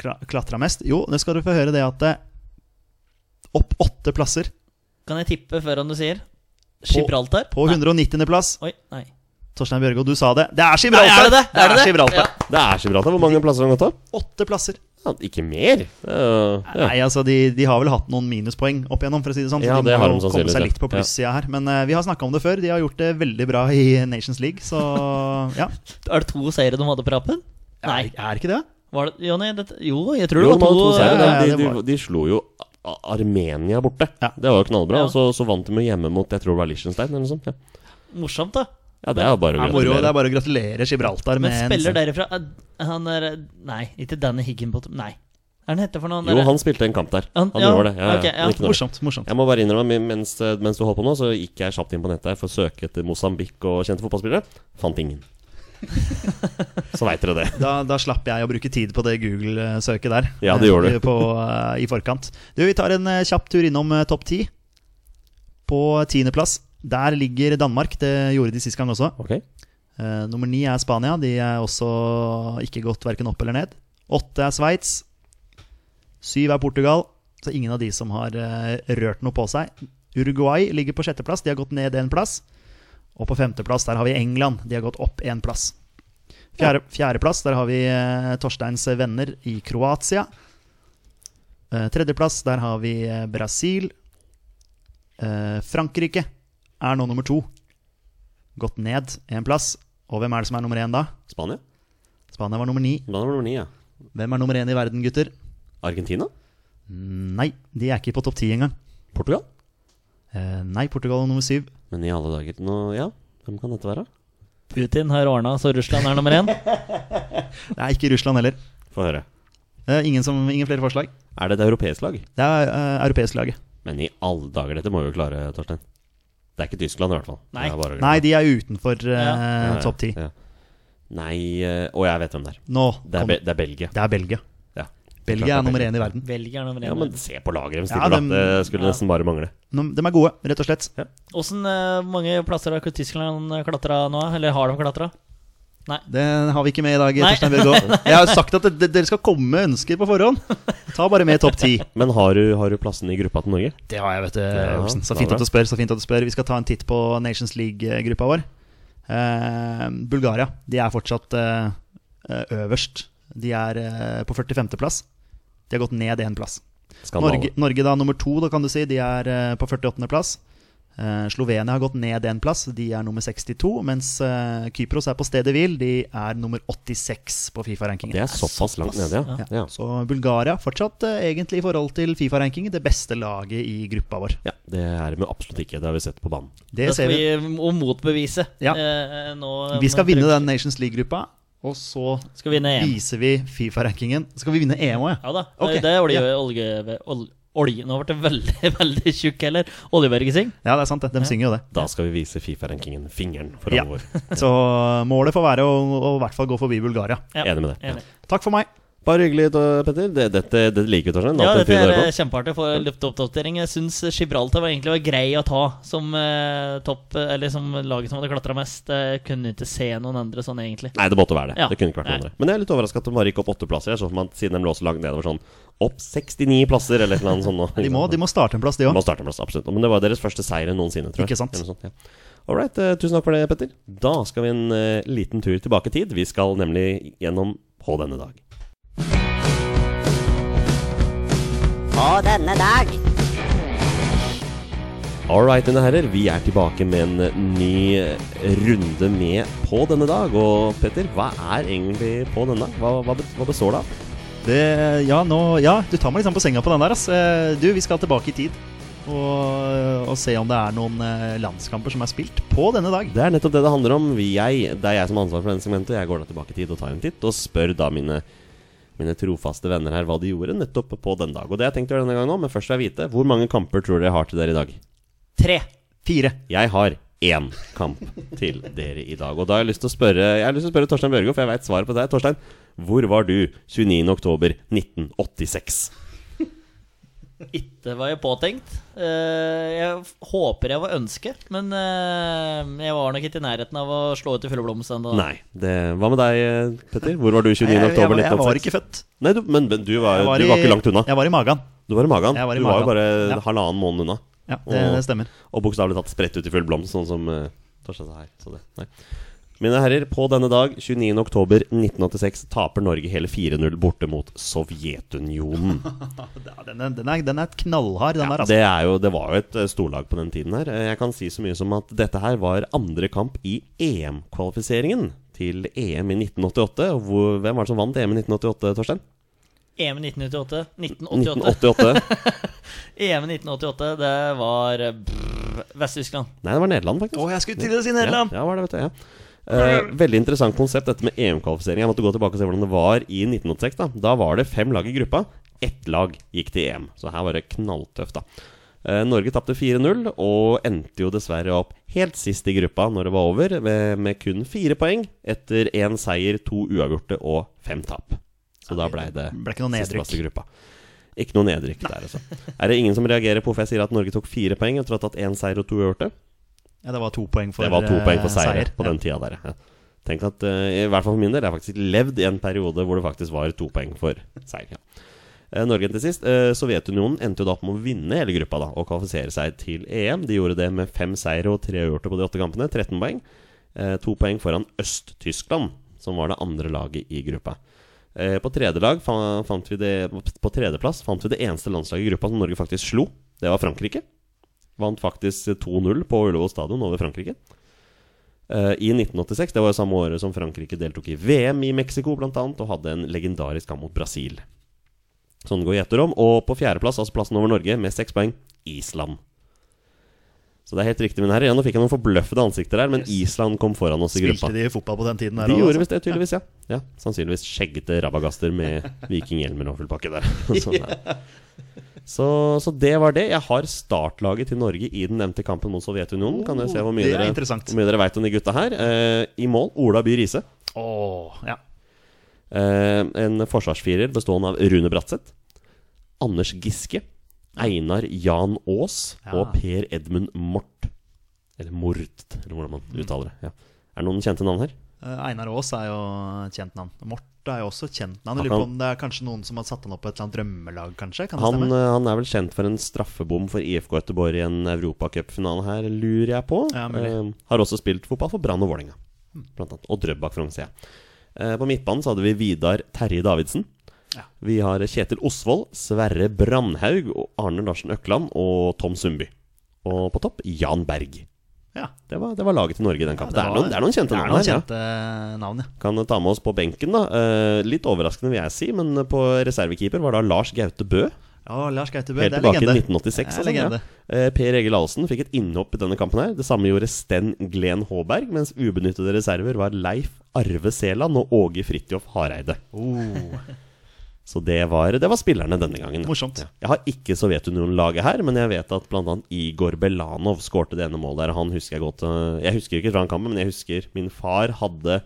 Speaker 3: kla- klatra mest? Jo, det skal du få høre det at det, opp åtte plasser.
Speaker 2: Kan jeg tippe før om du sier? Gibraltar?
Speaker 3: På 190. plass.
Speaker 2: Nei. Oi, nei.
Speaker 3: Torstein Bjørgo, du sa det. Det er
Speaker 2: Nei,
Speaker 3: Gibraltar!
Speaker 2: er det det? Er det det?
Speaker 3: Gibraltar.
Speaker 1: Det er Gibraltar. Hvor mange plasser har han gått opp?
Speaker 3: Åtte plasser.
Speaker 1: Ja, ikke mer. Det er jo- ja.
Speaker 3: Nei, altså, de, de har vel hatt noen minuspoeng opp igjennom, for å si det sånn.
Speaker 1: Ja,
Speaker 3: så de
Speaker 1: det
Speaker 3: må
Speaker 1: har de
Speaker 3: jo komme
Speaker 1: sannsynligvis,
Speaker 3: seg
Speaker 1: ja.
Speaker 3: litt på
Speaker 1: Ja.
Speaker 3: plussida her. Men eh, vi har snakka om det før. De har gjort det veldig bra i Nations League,
Speaker 1: (laughs)
Speaker 3: så ja.
Speaker 2: Er det to seire de hadde på rappen? Nei.
Speaker 3: Er, er ikke det?
Speaker 2: Var det, Jonny, dette, jo, jeg tror
Speaker 1: Jo,
Speaker 2: det
Speaker 1: de
Speaker 2: var
Speaker 1: hadde
Speaker 2: to, eh,
Speaker 1: to seire.
Speaker 3: ja, ja,
Speaker 1: De,
Speaker 3: det
Speaker 1: de,
Speaker 3: var-
Speaker 1: de slo jo A- Armenia borte.
Speaker 3: Ja.
Speaker 1: Det var jo knallbra.
Speaker 2: Ja.
Speaker 1: Og så, så vant de jo hjemme mot jeg tror det var Liechtenstein eller noe sånt. Ja,
Speaker 2: Morsomt, da.
Speaker 1: ja det er jo bare
Speaker 3: Det
Speaker 1: å
Speaker 3: er moro. Det
Speaker 1: gratulere.
Speaker 3: er bare å gratulere Gibraltar
Speaker 2: Men
Speaker 3: med
Speaker 2: spiller
Speaker 3: en
Speaker 2: derifra eh, Han er eh, Nei, ikke Danny Higginbottom. Nei. Hva er han heter for noe?
Speaker 1: Jo, han spilte en kamp der. Han,
Speaker 2: Han- ja,
Speaker 1: gjorde det. Ja, ja.
Speaker 2: ok, ja.
Speaker 1: Men ikke noe.
Speaker 3: Morsomt. morsomt
Speaker 1: Jeg må bare innrømme, mens, eh, mens du holdt på nå, så gikk jeg kjapt inn på nettet her for å søke etter Mosambik og kjente fotballspillere. Fant ingen. så veit dere det.
Speaker 3: da, da slapp jeg å bruke tid på det Google-søket der.
Speaker 1: Ja, det gjorde du.
Speaker 3: Eh, På, eh, I forkant. Du, vi tar en eh, kjapp tur innom eh, topp ti. På tiendeplass. Der ligger Danmark. Det gjorde de sist gang også.
Speaker 1: Ok,
Speaker 3: Eh, nummer ni er Spania. De er også ikke gått verken opp eller ned. Åtte er Sveits. Syv er Portugal. Så ingen av de som har eh, rørt noe på seg. Uruguay ligger på sjetteplass. De har gått ned én plass. Og på femteplass der har vi England. De har gått opp én plass. Fjerde, fjerdeplass der har vi eh, Torsteins venner i Kroatia. Eh, tredjeplass der har vi eh, Brasil. Eh, Frankrike er nå nummer to gått ned en plass. Og hvem er det som er nummer én da?
Speaker 1: Spania?
Speaker 3: Spania var nummer ni.
Speaker 1: Da var det nummer ni, ja.
Speaker 3: Hvem er nummer én i verden, gutter?
Speaker 1: Argentina?
Speaker 3: Nei, de er ikke på topp ti engang.
Speaker 1: Portugal?
Speaker 3: Eh, nei, Portugal er nummer syv.
Speaker 1: Men i alle dager nå, Ja, hvem kan dette være?
Speaker 2: Putin har ordna, så Russland er nummer én.
Speaker 3: Det er ikke Russland heller.
Speaker 1: Få høre.
Speaker 3: Eh, ingen, som, ingen flere forslag?
Speaker 1: Er det et europeisk lag?
Speaker 3: Det er eh, europeisk laget.
Speaker 1: Men i alle dager, dette må vi jo klare, Torstein. Det er ikke Tyskland, i hvert fall.
Speaker 2: Nei.
Speaker 1: Det er bare å glemme.
Speaker 3: Nei, de er utenfor eh,
Speaker 2: Ja.
Speaker 3: topp ti.
Speaker 1: Ja. Nei eh, Å, jeg vet hvem det er.
Speaker 3: Nå
Speaker 1: Det
Speaker 3: kom-
Speaker 1: er, Be det er Belgia.
Speaker 3: det er Belgia.
Speaker 1: Ja.
Speaker 3: Belgia er nummer én i verden.
Speaker 2: Belgia er nummer
Speaker 1: Ja, men
Speaker 2: én.
Speaker 1: se på laget deres,
Speaker 3: Ja,
Speaker 1: da.
Speaker 3: dem-
Speaker 1: Det skulle nesten bare mangle.
Speaker 3: De, de er gode, rett og slett.
Speaker 2: Åssen eh, mange plasser har Tyskland klatra nå? Eller har de klatra?
Speaker 3: Det har vi ikke med i dag.
Speaker 2: Nei.
Speaker 3: Torstein Bjørgo. Jeg har sagt at det- det- dere skal komme med ønsker på forhånd. Ta bare med topp ti.
Speaker 1: Men har du, har du plassen i gruppa til Norge?
Speaker 3: Det har jeg, vet du,
Speaker 1: Ja,
Speaker 3: Olsen. Så
Speaker 1: det
Speaker 3: fint
Speaker 1: har
Speaker 3: at du spør. så fint at du spør Vi skal ta en titt på Nations League-gruppa vår. Eh, Bulgaria de er fortsatt eh, eh, øverst. De er eh, på 45.-plass. De har gått ned én plass.
Speaker 1: Skandale.
Speaker 3: Norge, Norge da nummer to, da kan du si. De er eh, på 48.-plass. Eh, Slovenia har gått ned én plass. De er nummer 62. Mens eh, Kypros er på stedet hvil. De er nummer 86 på Fifa-rankingen.
Speaker 1: Det er såpass langt nede, ja. ja.
Speaker 3: Så Bulgaria fortsatt eh, egentlig i forhold til Fifa-rankingen det beste laget i gruppa vår.
Speaker 1: Ja, Det er de absolutt ikke. Det har vi sett på banen.
Speaker 3: Det,
Speaker 2: Det
Speaker 3: ser
Speaker 2: skal
Speaker 3: vi.
Speaker 2: vi m- motbevise.
Speaker 3: Ja.
Speaker 2: eh, nå,
Speaker 3: Vi skal
Speaker 2: men-
Speaker 3: vinne den Nations League-gruppa, og så
Speaker 2: Skal vinne EM.
Speaker 3: viser vi Fifa-rankingen. Så skal vi vinne EM òg, ja.
Speaker 2: Ja da. Eh,
Speaker 3: Ok,
Speaker 2: Det er olje,
Speaker 3: ja.
Speaker 2: olje, ol- olje Nå ble det veldig, (laughs) veldig tjukk heller. Oljebergising.
Speaker 3: Ja, det er sant, det. De synger jo det.
Speaker 1: Da skal vi vise Fifa-rankingen fingeren for
Speaker 3: Ja.
Speaker 1: alvor.
Speaker 3: Så eh, målet får være å, å i hvert fall gå forbi Bulgaria.
Speaker 2: Ja,
Speaker 1: Enig med det.
Speaker 2: Enig.
Speaker 3: Takk for meg.
Speaker 1: Bare hyggelig, da, Petter. Det, dette, dette liker vi, Torstein.
Speaker 2: Ja,
Speaker 1: Alt en
Speaker 2: dette
Speaker 1: fyr
Speaker 2: er
Speaker 1: hører på.
Speaker 2: eh, kjempeartig for løfteoppdatering. Jeg syns Gibraltar var egentlig var grei å ta som eh, topp, eh, eller som laget som hadde klatra mest. Jeg kunne ikke se noen andre sånn, egentlig.
Speaker 1: Nei, det måtte være det.
Speaker 2: Ja.
Speaker 1: Det kunne ikke vært noen
Speaker 2: Nei.
Speaker 1: andre. Men jeg er litt overraska at de bare gikk opp åtte plasser. Jeg så for meg at siden de lå så langt nedover sånn opp 69 plasser eller noe sånt.
Speaker 3: De må, de må starte en plass, de
Speaker 1: De
Speaker 3: òg.
Speaker 1: må starte en plass, absolutt. Men det var deres første seier noensinne, tror jeg.
Speaker 3: Ikke sant.
Speaker 1: Eller noe sånt, ja. All right, eh, tusen takk for det, Petter. Da skal vi en eh, liten tur tilbake i tid. Vi skal nemlig gjennom På denne dag.
Speaker 7: På denne dag.
Speaker 1: All right, mine herrer. Vi er tilbake med en eh, ny runde med På denne dag. Og Petter, hva er egentlig På denne dag? Hva, hva, be- hva består det av?
Speaker 3: Det, ja, nå, ja, du tar meg liksom på senga på den der, ass. Eh, Du, vi skal tilbake i tid. Og, og se om det er noen eh, landskamper som er spilt på denne dag.
Speaker 1: Det er nettopp det det handler om. Vi, jeg, det er jeg som har ansvar for denne segmentet. Jeg går da tilbake i tid og tar en titt og spør da mine, mine trofaste venner her hva de gjorde nettopp på den dag. Og det har jeg tenkt å gjøre denne gangen òg, men først vil jeg vite hvor mange kamper tror dere jeg har til dere i dag?
Speaker 2: Tre.
Speaker 3: Fire.
Speaker 1: Jeg har én kamp til dere i dag. Og da har jeg lyst til å spørre, jeg har lyst til å spørre Torstein Bjørgo, for jeg veit svaret på deg. Torstein, hvor var du 29.10.1986?
Speaker 2: Det var jo påtenkt. Eh, jeg f- håper jeg var ønsket, men eh, jeg var nok ikke i nærheten av å slå ut i fulle blomster ennå.
Speaker 1: Nei. Det, hva med deg, Petter? Hvor var du
Speaker 3: Jeg, jeg, jeg, var-
Speaker 1: 29.10.1986?
Speaker 3: jeg var ikke født.
Speaker 1: Nei, du, men, men du, var,
Speaker 3: Jeg
Speaker 1: Eh, du var
Speaker 3: i-
Speaker 1: ikke langt unna.
Speaker 3: Jeg var i magen.
Speaker 1: Du var i magen.
Speaker 3: Jeg var i
Speaker 1: du
Speaker 3: magen.
Speaker 1: var jo bare
Speaker 3: Ja.
Speaker 1: halvannen måned unna.
Speaker 3: Ja, det,
Speaker 1: Og-
Speaker 3: det stemmer.
Speaker 1: Og bokstavelig talt spredt ut i full blomst, sånn som eh, Torstein sa her. Så det, nei. Mine herrer, på denne dag, 29.10.1986, taper Norge hele 4-0 borte mot Sovjetunionen.
Speaker 3: Ja, den, er- den, er, den er knallhard, den der. Altså.
Speaker 1: Det, er jo, det var jo et eh, storlag på den tiden her. Eh, Jeg kan si så mye som at dette her var andre kamp i EM-kvalifiseringen til EM i 1988. Og Hvor, hvem var det som vant EM i 1988, Torstein?
Speaker 2: EM 1988. 1988.
Speaker 1: 1988.
Speaker 2: EM 1988, det var eh, brr, Vest-Tyskland.
Speaker 1: Nei, det var Nederland, faktisk.
Speaker 3: Å, jeg skulle til å si
Speaker 1: Ja, ja, var det, vet du. Ja. Eh, veldig interessant konsept, dette med EM-kvalifisering. Jeg måtte gå tilbake og se hvordan det var i 1986. Da Da var det fem lag i gruppa. Ett lag gikk til EM, så her var det knalltøft, da. Eh, Norge tapte 4-0, og endte jo dessverre opp helt sist i gruppa når det var over, med, med kun fire poeng etter én seier, to uavgjorte og fem tap. Så da blei det
Speaker 3: Ble ikke noe
Speaker 1: Siste plass i
Speaker 3: nedrykk.
Speaker 1: gruppa. Ikke noe nedrykk der, altså. Er det ingen som reagerer på hvorfor jeg sier at Norge tok fire poeng etter å ha tatt én seier og to uavgjorte?
Speaker 3: Ja, det var to poeng for
Speaker 1: det var to
Speaker 3: eh,
Speaker 1: poeng for seier, på
Speaker 3: Ja.
Speaker 1: den tida der. Ja. Tenk at, eh, I hvert fall for min del, jeg har faktisk levd i en periode hvor det faktisk var to poeng for seier. Ja. Eh, Norge til sist. Eh, Sovjetunionen endte jo da opp med å vinne hele gruppa da, og kvalifisere seg til EM. De gjorde det med fem seire og tre uavgjorte på de åtte kampene. 13 poeng. Eh, to poeng foran Øst-Tyskland, som var det andre laget i gruppa. Eh, på tredje lag fa fant vi det På tredjeplass fant vi det eneste landslaget i gruppa som Norge faktisk slo. Det var Frankrike. Vant faktisk 2-0 på Ullevål stadion over Frankrike. Eh, I 1986, det var jo samme året som Frankrike deltok i VM i Mexico blant annet, og hadde en legendarisk kamp mot Brasil. Sånn går gjetter om. Og på fjerdeplass, altså plassen over Norge, med seks poeng, Island. Så det er helt riktig, mine herrer. Ja, nå fikk jeg noen forbløffede ansikter her, men Island kom foran oss i gruppa.
Speaker 3: Spilte de fotball på den tiden der
Speaker 1: De
Speaker 3: også,
Speaker 1: gjorde
Speaker 3: altså?
Speaker 1: visst det, tydeligvis, ja. ja. Sannsynligvis skjeggete rabagaster med (laughs) vikinghjelmer og full pakke (laughs) der. Sånn der. Så, så det var det. Jeg har startlaget til Norge i den nevnte kampen mot Sovjetunionen. Kan dere se hvor mye
Speaker 3: Oh, det er
Speaker 1: dere,
Speaker 3: interessant.
Speaker 1: hvor mye dere veit om de gutta her? Eh, I mål Ola By Riise.
Speaker 3: Åh, ja.
Speaker 1: Eh, en forsvarsfirer bestående av Rune Bratseth. Anders Giske. Einar Jan Aas og Per Edmund Mort. Eller Mort, eller hvordan man uttaler det. Ja. Er det noen kjente navn her?
Speaker 3: Eh, Einar Aas er jo et kjent navn. Mort er jo også et kjent navn.
Speaker 1: Han
Speaker 3: Jeg lurer på
Speaker 1: kan-
Speaker 3: om det er kanskje noen som har satt han opp på et eller annet drømmelag, kanskje? Kan det
Speaker 1: Han,
Speaker 3: stemme?
Speaker 1: eh, han er vel kjent for en straffebom for IFK Göteborg i en europacupfinale her, lurer jeg på.
Speaker 3: Ja, mulig. Hm.
Speaker 1: Eh, har også spilt fotball for Brann og Vålerenga, blant annet. Og Drøbak Frogn, ser jeg. Eh, på midtbanen så hadde vi Vidar Terje Davidsen.
Speaker 3: Ja.
Speaker 1: Vi har Kjetil Osvold, Sverre Brandhaug, og Arne Larsen Økland og Tom Sundby. Og på topp Jan Berg.
Speaker 3: Ja.
Speaker 1: Det var, det var laget til Norge i den kampen. det,
Speaker 3: var-
Speaker 1: er noen, det er noen eh, kjente
Speaker 3: det er
Speaker 1: navn
Speaker 3: noen
Speaker 1: her. Ja.
Speaker 3: kjente navn, ja.
Speaker 1: Kan ta med oss på benken, da. Eh, litt overraskende, vil jeg si, men på reservekeeper var da Lars Gaute Bø.
Speaker 3: Ja, Lars Gautebø,
Speaker 1: Helt
Speaker 3: det er
Speaker 1: tilbake
Speaker 3: legende.
Speaker 1: i 1986.
Speaker 3: Det er
Speaker 1: altså,
Speaker 3: legende.
Speaker 1: ja. Eh, Per Egil Ahlsen fikk et innhopp i denne kampen. her Det samme gjorde Sten Glen Håberg, mens ubenyttede reserver var Leif Arve Seland og Åge Fridtjof Hareide.
Speaker 3: Oh.
Speaker 1: (laughs) Så det var, det var spillerne denne gangen.
Speaker 3: Morsomt.
Speaker 1: Ja. Jeg har ikke Sovjetunionen-laget her, men jeg vet at bl.a. Igor Belanov skårte det ene målet der. Han husker jeg godt eh, Jeg husker ikke fra den kampen, men jeg husker min far hadde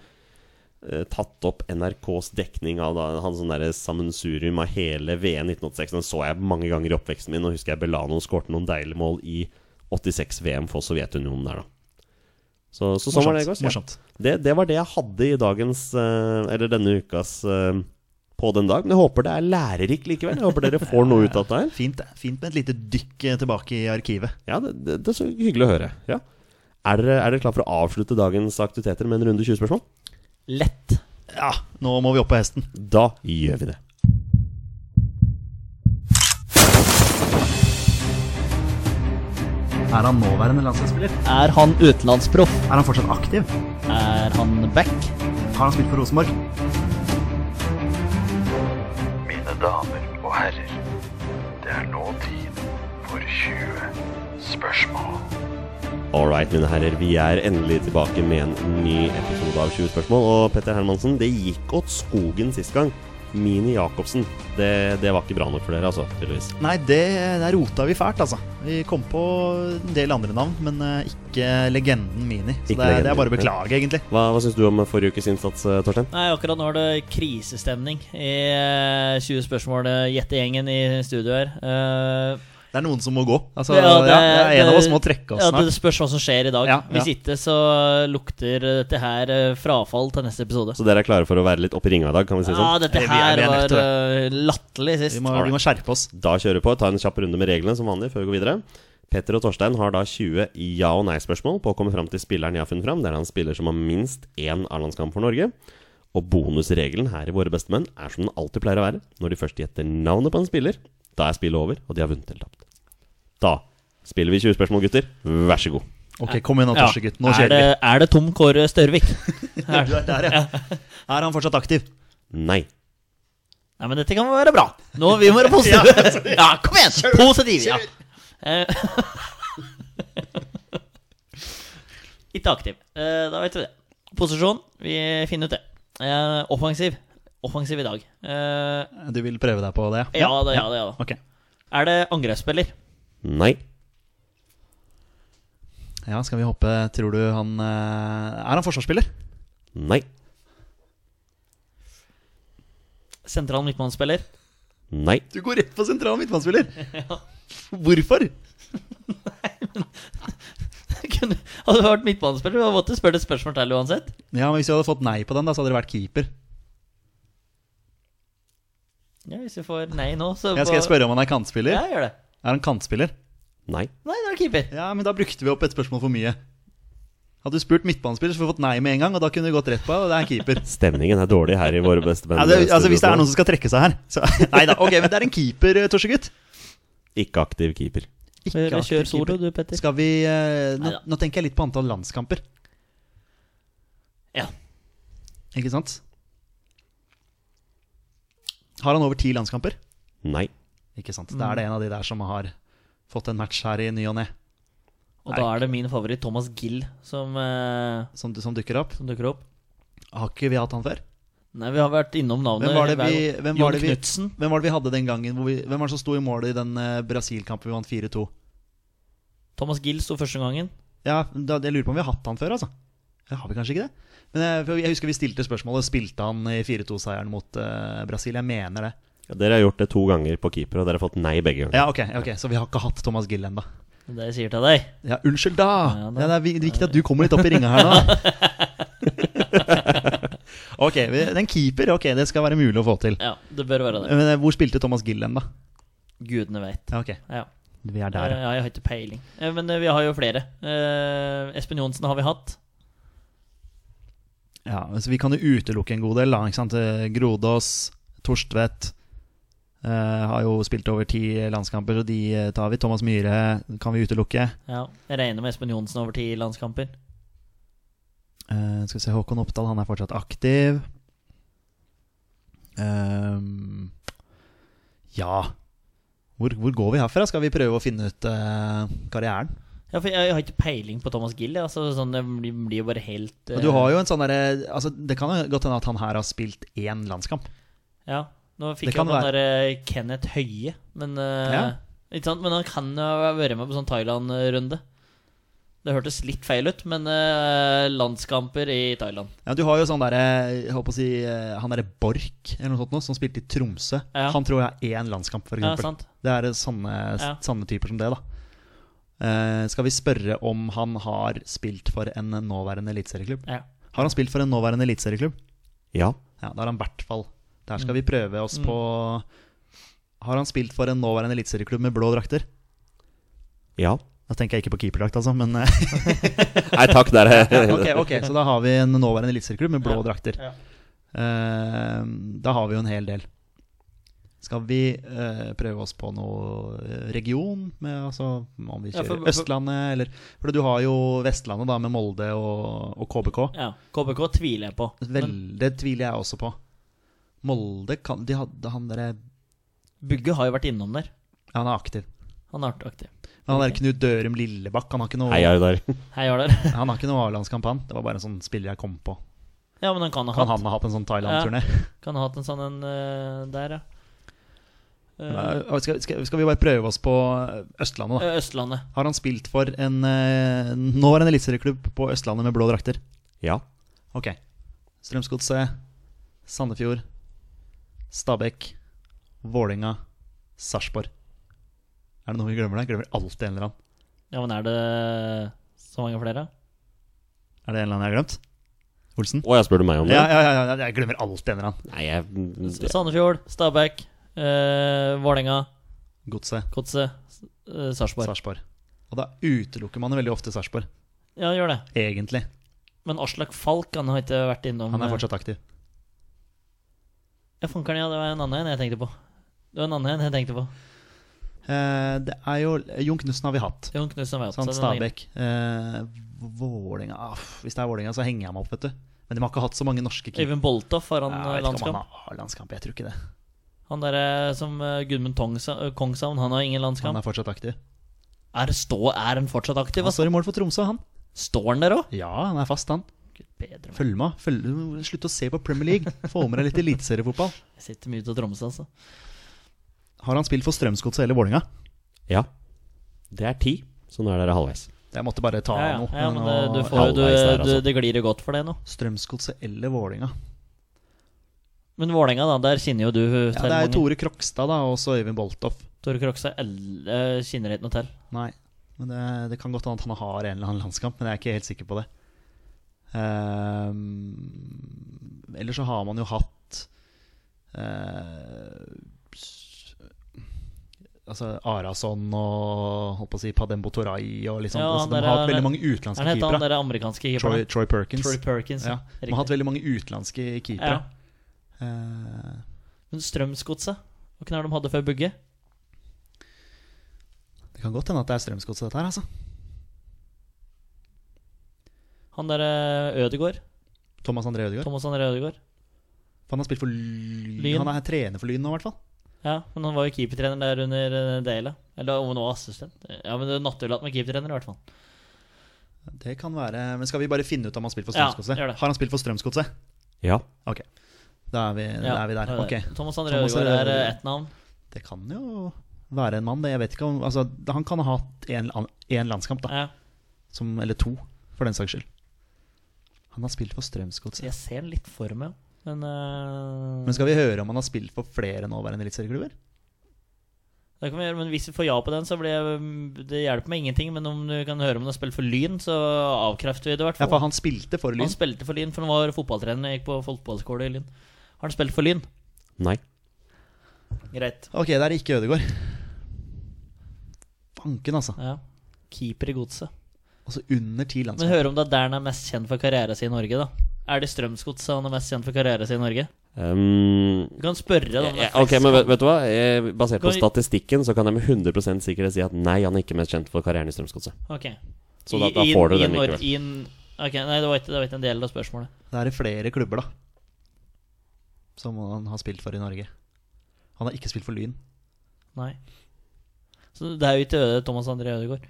Speaker 1: eh, tatt opp NRKs dekning av da, han sånn derre sammensurium av hele VM 1986. Den så jeg mange ganger i oppveksten min, og husker jeg Belanov skårte noen deilige mål i 86-VM for Sovjetunionen der, da. Så, så sånn var det i går.
Speaker 3: Morsomt.
Speaker 1: så ja.
Speaker 3: morsomt.
Speaker 1: Det, det var det jeg hadde i dagens eh, Eller denne ukas eh, På den dag. Men jeg håper det er lærerikt likevel. Jeg håper dere får noe ut av det her.
Speaker 3: Fint, det. fint med et lite dykk eh, tilbake i arkivet.
Speaker 1: Ja, det, det, det er så hyggelig å høre. Ja. Er dere, er dere klar for å avslutte dagens aktiviteter med en runde 20 spørsmål?
Speaker 2: Lett.
Speaker 3: Ja, nå må vi opp på hesten.
Speaker 1: Da gjør vi det.
Speaker 3: Er han nåværende landslagsspiller?
Speaker 2: Er han utenlandsproff?
Speaker 3: Er han fortsatt aktiv?
Speaker 2: Er han back?
Speaker 3: Har han spilt for Rosenborg?
Speaker 8: Mine damer og herrer, det er nå tid for 20 spørsmål.
Speaker 1: All right, mine herrer. Vi er endelig tilbake med en ny episode av 20 spørsmål. Og Petter Hermansen, det gikk åt skogen sist gang. Mini Jacobsen. Det, det var ikke bra nok for dere, altså. Tydeligvis.
Speaker 3: Nei, det, der rota vi fælt, altså. Vi kom på en del andre navn, men eh, ikke legenden Mini. Så
Speaker 1: Ikke
Speaker 3: det, er- det
Speaker 1: legenden,
Speaker 3: er bare
Speaker 1: ja.
Speaker 3: å beklage, egentlig.
Speaker 1: Hva, hva syns du om forrige ukes innsats, eh, Torstein?
Speaker 2: Nei, akkurat nå er det krisestemning i eh, 20 spørsmål. eh, Gjettegjengen i studio her. Eh,
Speaker 3: Det er noen som må gå. Altså, ja,
Speaker 2: Ja,
Speaker 3: det, er en av oss som må trekke oss
Speaker 2: ja,
Speaker 3: snart.
Speaker 2: Det spørs hva som skjer i dag.
Speaker 3: Ja,
Speaker 2: Hvis
Speaker 3: ja.
Speaker 2: ikke så lukter dette her eh, frafall til neste episode.
Speaker 1: Så dere er klare for å være litt oppe i ringa i dag, kan vi si det
Speaker 2: Ja,
Speaker 1: sånn?
Speaker 2: dette
Speaker 3: Vi er- vi er
Speaker 2: her
Speaker 3: nødt
Speaker 2: var
Speaker 3: til
Speaker 2: eh, latterlig
Speaker 3: Vi
Speaker 2: sist.
Speaker 3: må, vi må skjerpe oss.
Speaker 1: Da kjører vi på. Ta en kjapp runde med reglene som vanlig før vi går videre. Petter og Torstein har da 20 ja- og nei-spørsmål på å komme fram til spilleren jeg har funnet fram. Det er han spiller som har minst én A-landskamp for Norge. Og bonusregelen her i Våre bestemenn er som den alltid pleier å være. Når de først gjetter navnet på en spiller, da er spillet over, og de har vunnet eller tapt. Da spiller vi 20 spørsmål, gutter. Vær så god.
Speaker 3: Ok, kom igjen nå,
Speaker 2: Ja.
Speaker 3: Torsegutt. Nå
Speaker 2: er,
Speaker 3: kjører
Speaker 2: det,
Speaker 3: (laughs) vi.
Speaker 2: er det Tom Kåre Størvik?
Speaker 3: Du er der, ja. Er han fortsatt aktiv?
Speaker 1: Nei.
Speaker 2: Nei, men dette kan være bra. Nå, Vi
Speaker 3: (laughs)
Speaker 2: må være (laughs) positive. ja, kom igjen! Positive, ja. Eh, (laughs) Ikke aktiv. Eh, Da vet vi det. Posisjon, vi finner ut det. Eh, Offensiv. Offensiv i dag. Eh,
Speaker 3: Du vil prøve deg på det?
Speaker 2: Ja da, ja da. ja da.
Speaker 3: Ok.
Speaker 2: Er det angrepsspiller?
Speaker 1: Nei.
Speaker 3: Ja, skal vi håpe Tror du han eh, Er han forsvarsspiller?
Speaker 1: Nei.
Speaker 2: Sentral midtbanespiller? (laughs)
Speaker 1: Nei.
Speaker 3: Du går rett på sentral midtbanespiller! Hvorfor?
Speaker 2: Kunne- Hadde du vært midtbanespiller, hadde du måttet spørre et spørsmål til uansett.
Speaker 3: Ja, men Hvis vi hadde fått nei på den, da, så hadde dere vært keeper.
Speaker 2: Ja, Hvis vi får nei nå, så
Speaker 3: Ja, skal jeg
Speaker 2: får-
Speaker 3: spørre om han er kantspiller?
Speaker 2: Ja, gjør det.
Speaker 3: Er han kantspiller?
Speaker 1: Nei.
Speaker 2: Nei, det er keeper.
Speaker 3: Ja, men da brukte vi opp et spørsmål for mye. Hadde du spurt midtbanespiller, så hadde du fått nei med en gang, og da kunne du gått rett på, og det er en keeper.
Speaker 1: Stemningen er dårlig her i Våre bestemenn.
Speaker 3: Ja, det, altså, hvis det er noen som skal trekke seg her, så (laughs) Nei da, ok, men det er en keeper, eh,
Speaker 2: (laughs)
Speaker 3: Torsegutt.
Speaker 1: Ikke aktiv keeper.
Speaker 3: Ikke
Speaker 2: Kjør
Speaker 3: aktiv
Speaker 2: kjør solo,
Speaker 3: keeper.
Speaker 2: du, Petter.
Speaker 3: Skal vi eh, nå,
Speaker 2: Neida.
Speaker 3: nå tenker jeg litt på antall landskamper,
Speaker 2: Ja.
Speaker 3: ikke sant? Har han over ti landskamper?
Speaker 1: Nei.
Speaker 3: Ikke sant. Da
Speaker 2: Mm.
Speaker 3: er det en av de der som har fått en match her i ny og ne,
Speaker 2: Og da er det min favoritt Thomas Gill som, eh,
Speaker 3: som, som dukker opp.
Speaker 2: som dukker opp.
Speaker 3: Har ikke vi hatt han før?
Speaker 2: Nei, vi har vært innom navnet.
Speaker 3: Hvem var det
Speaker 2: hver
Speaker 3: vi,
Speaker 2: gang.
Speaker 3: hvem
Speaker 2: Jon
Speaker 3: var det vi,
Speaker 2: Knudsen.
Speaker 3: hvem var det vi hadde den gangen? Hvor vi, hvem var det som sto i målet i den eh, Brasil-kampen vi vant 4-2?
Speaker 2: Thomas Gill sto første gangen.
Speaker 3: Ja, da, Jeg lurer på om vi har hatt han før, altså. Ja, har vi kanskje ikke det? Men jeg, for jeg husker vi stilte spørsmålet Spilte han i 4-2-seieren mot eh, Brasil. Jeg mener det.
Speaker 1: Ja, dere har gjort det to ganger på keeper, og dere har fått nei begge ganger.
Speaker 3: Ja, ok, ok, Så vi har ikke hatt Thomas Gill ennå.
Speaker 2: Det er det jeg sier til deg.
Speaker 3: Ja, unnskyld, da! Ja,
Speaker 2: Ja, da.
Speaker 3: det er vi- viktig at du kommer litt opp i ringa (laughs) her nå. ok, vi- den keeper, ok, det skal være mulig å få til.
Speaker 2: Ja, det bør være det.
Speaker 3: Men eh, hvor spilte Thomas Gill hen, da?
Speaker 2: Gudene veit.
Speaker 3: Ja, ok,
Speaker 2: Ja.
Speaker 3: vi er der. ja.
Speaker 2: ja, jeg har ikke peiling. Eh, Men eh, vi har jo flere. Eh, Espen Johnsen har vi hatt.
Speaker 3: Ja, altså Vi kan jo utelukke en god del. da, ikke sant? Eh, Grodås, Torstvedt eh, har jo spilt over ti landskamper, og de eh, tar vi. Thomas Myhre kan vi utelukke.
Speaker 2: Ja, jeg regner med Espen Johnsen over ti landskamper.
Speaker 3: Eh, skal vi se, Håkon Oppdal han er fortsatt aktiv. Ehm, ja hvor, hvor går vi herfra? Skal vi prøve å finne ut eh, karrieren?
Speaker 2: Ja, for jeg har ikke peiling på Thomas Gill. ja, så sånn, det blir blir jo bare helt
Speaker 3: Men Du har jo en sånn derre altså, Det kan jo godt hende at han her har spilt én landskamp.
Speaker 2: Ja, Nå fikk
Speaker 3: Det kan
Speaker 2: jeg den derre Kenneth Høie, men eh,
Speaker 3: Ja.
Speaker 2: Ikke sant? Men han kan jo ha vært med på sånn Thailand-runde. Det hørtes litt feil ut, men eh, landskamper i Thailand.
Speaker 3: Ja, du har jo sånn derre jeg håper å si, eh, Han derre Borch eller noe sånt nå, som spilte i Tromsø.
Speaker 2: Ja.
Speaker 3: Han tror jeg har én landskamp, f.eks.
Speaker 2: Ja,
Speaker 3: eksempel
Speaker 2: sant.
Speaker 3: det er eh, sanne,
Speaker 2: Ja.
Speaker 3: sanne typer som det, da. Eh, skal vi spørre om han har spilt for en nåværende eliteserieklubb?
Speaker 2: Ja.
Speaker 3: Har han spilt for en nåværende eliteserieklubb?
Speaker 1: Ja.
Speaker 3: Ja, da har han i hvert fall. Der
Speaker 2: Mm.
Speaker 3: skal vi prøve oss på Har han spilt for en nåværende eliteserieklubb med blå drakter?
Speaker 1: Ja.
Speaker 3: Da tenker jeg ikke på keeperdrakt, altså, men eh,
Speaker 1: Nei takk, der (laughs) er
Speaker 3: ok, ok, Så da har vi en nåværende eliteserieklubb med blå drakter.
Speaker 2: Ja.
Speaker 3: Eh, da har vi jo en hel del. Skal vi eh, prøve oss på noe eh, region? Med, altså, om vi
Speaker 2: Ja,
Speaker 3: kjører
Speaker 2: for- for-
Speaker 3: Østlandet, eller For du har jo Vestlandet, da, med Molde og, og KBK.
Speaker 2: Ja. KBK tviler jeg på.
Speaker 3: Vel, det tviler jeg også på. Molde kan De hadde han derre
Speaker 2: Bugge har jo vært innom der.
Speaker 3: ja, Han er aktiv.
Speaker 2: Han er aktiv.
Speaker 3: Men han der Knut Dørum Lillebakk, han har ikke noe,
Speaker 1: Hei, er du der?
Speaker 2: Hei, har dere.
Speaker 3: han har ikke noe A-landskamp, han. Det var bare en sånn spiller jeg kom på.
Speaker 2: (laughs) Ja, men han kan ha
Speaker 3: Kan
Speaker 2: hatt,
Speaker 3: han ha hatt en sånn Thailand-turné?
Speaker 2: kan ha hatt en sånn en eh, der, ja. Eh,
Speaker 3: Eh, Skal, skal, skal vi bare prøve oss på Østlandet, da?
Speaker 2: eh, Østlandet.
Speaker 3: Har han spilt for en eh, Nå er det en eliteserieklubb på Østlandet med blå drakter.
Speaker 1: Ja.
Speaker 3: Ok. Strømsgodset, Sandefjord, Stabekk, Vålinga, Sarpsborg. Er det noe vi glemmer der? Glemmer alltid en eller annen.
Speaker 2: Ja, men er det så mange flere?
Speaker 3: Er det en eller annen jeg har glemt? Olsen?
Speaker 1: Å, jeg spør du meg om det?
Speaker 3: Ja, ja, ja, ja jeg glemmer alltid en eller annen.
Speaker 1: Nei, jeg
Speaker 2: Sandefjord, Stabæk, eh, Vålerenga,
Speaker 3: Godset,
Speaker 2: Godset, eh, Sarpsborg.
Speaker 3: Sarpsborg. Og da utelukker man jo veldig ofte Sarpsborg,
Speaker 2: Ja, gjør det.
Speaker 3: egentlig.
Speaker 2: Men Aslak Falk han har ikke vært innom eh,
Speaker 3: Han er fortsatt aktiv.
Speaker 2: Ja, fankeren, ja, det var en annen en jeg tenkte på. Det var en annen en jeg tenkte på.
Speaker 3: Eh, det er jo Jon Knutsen har vi hatt.
Speaker 2: Jon Knutsen var jo
Speaker 3: Sånn,
Speaker 2: opptatt, den er grei.
Speaker 3: Stabæk. Eh, Vålinga ah, f- Hvis det er Vålinga, så henger jeg meg opp, vet du. Men de har ikke hatt så mange norske keepere.
Speaker 2: Øyvind Boltoff har han
Speaker 3: Jeg
Speaker 2: eh,
Speaker 3: vet ikke om
Speaker 2: landskamp.
Speaker 3: han har ah, landskamp, jeg tror ikke det.
Speaker 2: Han derre som eh, Gudmund Tongsa, eh, Kongshavn, han har ingen
Speaker 3: Han
Speaker 2: landskamp.
Speaker 3: er fortsatt aktiv.
Speaker 2: Er, stå, er han fortsatt aktiv?
Speaker 3: Han
Speaker 2: ass?
Speaker 3: står i mål for Tromsø, han.
Speaker 2: Står han der òg?
Speaker 3: Ja, han er fast, han.
Speaker 2: Gud bedre meg.
Speaker 3: Følg med. Følg, du må slutt å se på Premier League. Få med deg litt eliteseriefotball.
Speaker 2: Jeg sitter mye til Tromsø, altså.
Speaker 3: Har han spilt for Strømsgodset eller Vålinga?
Speaker 1: Ja. Det er ti, så nå er dere halvveis.
Speaker 3: Jeg måtte bare ta
Speaker 2: Ja, ja.
Speaker 3: noe.
Speaker 2: ja men det,
Speaker 3: nå-
Speaker 2: du får, du,
Speaker 1: Halvveis der, altså.
Speaker 2: du, det glir jo godt for det nå.
Speaker 3: Strømsgodset eller Vålinga.
Speaker 2: Men Vålerenga, da. Der kjenner jo du til
Speaker 3: Ja, det er
Speaker 2: mange.
Speaker 3: jo Tore Krokstad da, og så Øyvind Boltoff.
Speaker 2: Tore Krokstad elle, kjenner ikke noe til.
Speaker 3: Nei, men det, det kan godt hende at han har en eller annen landskamp, men jeg er ikke helt sikker på det. Ehm, ellers så har man jo hatt eh, s- Altså Arason og holdt på å si Padembo Toray og liksom
Speaker 2: Ja,
Speaker 3: altså, De
Speaker 2: der
Speaker 3: har
Speaker 2: er-
Speaker 3: hatt veldig mange
Speaker 2: Er
Speaker 3: utenlandske
Speaker 2: det han
Speaker 3: keepere.
Speaker 2: derre amerikanske
Speaker 3: Troy,
Speaker 2: keeperen?
Speaker 3: Troy Perkins.
Speaker 2: Troy Perkins.
Speaker 3: ja. De har hatt veldig mange utenlandske keepere.
Speaker 2: ja.
Speaker 3: Eh,
Speaker 2: Men Strømsgodset, hva kunne de hadde før Bugge?
Speaker 3: det kan godt hende at det er Strømsgodset, dette her, altså.
Speaker 2: Han derre Ødegård?
Speaker 3: Thomas André Ødegaard.
Speaker 2: Thomas André Ødegård?
Speaker 3: For Han har spilt for Lyn.
Speaker 2: Lyn.
Speaker 3: Han er trener for Lyn nå, i hvert fall.
Speaker 2: Ja, men han var jo keepertrener der under eh, Dale. Eller om han var assistent. Ja, men det er naturlig at han var keepertrener, i hvert fall.
Speaker 3: Det kan være, men Skal vi bare finne ut om han har spilt for
Speaker 2: Ja,
Speaker 3: Strømsgodset?
Speaker 2: gjør det.
Speaker 3: har han spilt for Strømsgodset?
Speaker 1: Ja.
Speaker 3: Ok, da er vi, da
Speaker 2: Ja,
Speaker 3: er vi der.
Speaker 2: det er
Speaker 3: Ok,
Speaker 2: det. Thomas André
Speaker 3: Thomas
Speaker 2: Ødegaard er
Speaker 3: Ødegaard.
Speaker 2: eh, ett navn.
Speaker 3: Det kan jo være en mann, det. Jeg vet ikke om, altså, Han kan ha hatt én landskamp, da.
Speaker 2: Ja,
Speaker 3: Som, eller to, for den saks skyld. Han har spilt for Strømsgodset.
Speaker 2: jeg ser den litt for meg, men, eh,
Speaker 3: Men skal vi høre om han har spilt for flere nåværende eliteserieklubber?
Speaker 2: Det kan vi gjøre, men hvis vi får ja på den, så blir jeg, mm, det hjelper meg ingenting. Men om du kan høre om han har spilt for Lyn, så avkrefter vi det i hvert
Speaker 3: Ja,
Speaker 2: fall.
Speaker 3: for han spilte for Lyn.
Speaker 2: Han spilte for Lyn, for han var fotballtrener. Jeg gikk på fotballskole i Lyn. Har han spilt for Lyn?
Speaker 1: Nei.
Speaker 2: Greit.
Speaker 3: Ok, det er ikke Ødegaard. Fanken, altså.
Speaker 2: Ja. Keeper i godset.
Speaker 3: Altså under ti
Speaker 2: Men
Speaker 3: landskamper.
Speaker 2: hør om det er der han er mest kjent for karrieren sin i Norge, da. Er det Strømsgodset han er mest kjent for karrieren sin i Norge?
Speaker 1: Um,
Speaker 2: Du kan spørre da, om det
Speaker 1: jeg,
Speaker 2: er
Speaker 1: ok,
Speaker 2: flest
Speaker 1: men vet,
Speaker 2: kamp.
Speaker 1: vet du hva? Jeg, basert på
Speaker 2: Kan vi-
Speaker 1: statistikken så kan jeg med 100 sikkerhet si at nei, han er ikke mest kjent for karrieren i Strømsgodset.
Speaker 2: Ok.
Speaker 1: Så
Speaker 2: I-
Speaker 1: da, da
Speaker 2: i-
Speaker 1: får du
Speaker 2: i
Speaker 1: den
Speaker 2: Nor-
Speaker 1: likevel.
Speaker 2: i en- Ok, Nei, det var ikke, det var ikke en del av spørsmålet.
Speaker 3: Det er flere klubber, da. Som han har spilt for i Norge. Han har ikke spilt for Lyn.
Speaker 2: Nei. Så det er jo ikke Øde Thomas André Ødegaard.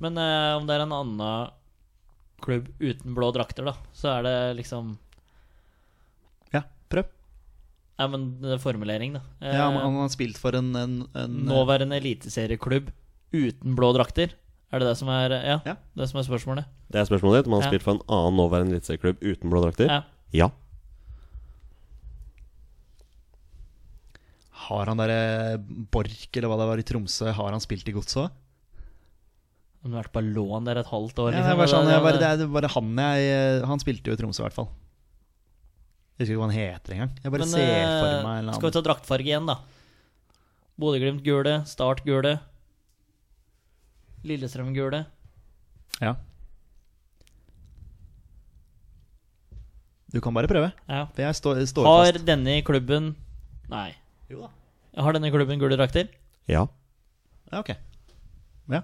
Speaker 2: Men eh, om det er en annen klubb uten blå drakter, da, så er det liksom
Speaker 3: Ja, prøv.
Speaker 2: Nei, men det er formulering, da. Eh,
Speaker 3: Ja, men Han har spilt for en, en, en
Speaker 2: nåværende eliteserieklubb uten blå drakter. Er det det som er, ja,
Speaker 3: Ja.
Speaker 2: Det som er spørsmålet?
Speaker 1: Det er spørsmålet ditt. Man har
Speaker 2: Ja.
Speaker 1: spilt for en annen nåværende eliteserieklubb uten blå drakter?
Speaker 2: Ja.
Speaker 1: Ja.
Speaker 3: Har han derre Borch, eller hva det var, i Tromsø, har han spilt i Godset òg?
Speaker 2: Han har vært på lån der et halvt år.
Speaker 3: Ja,
Speaker 2: liksom,
Speaker 3: det, var
Speaker 2: og
Speaker 3: sånn,
Speaker 2: det-
Speaker 3: jeg bare- det er bare han jeg Han spilte jo i Tromsø, i hvert fall. Jeg husker ikke hva han heter engang. Jeg bare
Speaker 2: Men,
Speaker 3: ser for
Speaker 2: eh,
Speaker 3: meg en eller
Speaker 2: Skal vi
Speaker 3: annen
Speaker 2: ta draktfarge igjen, da? Bodø-Glimt gule, Start gule. Lillestrøm gule.
Speaker 3: ja. Du kan bare prøve.
Speaker 2: Ja.
Speaker 3: For jeg står, står
Speaker 2: Har
Speaker 3: fast.
Speaker 2: denne klubben Nei.
Speaker 3: Jo da.
Speaker 2: Har denne klubben gule drakter?
Speaker 1: Ja.
Speaker 3: Ja, ok. Ja.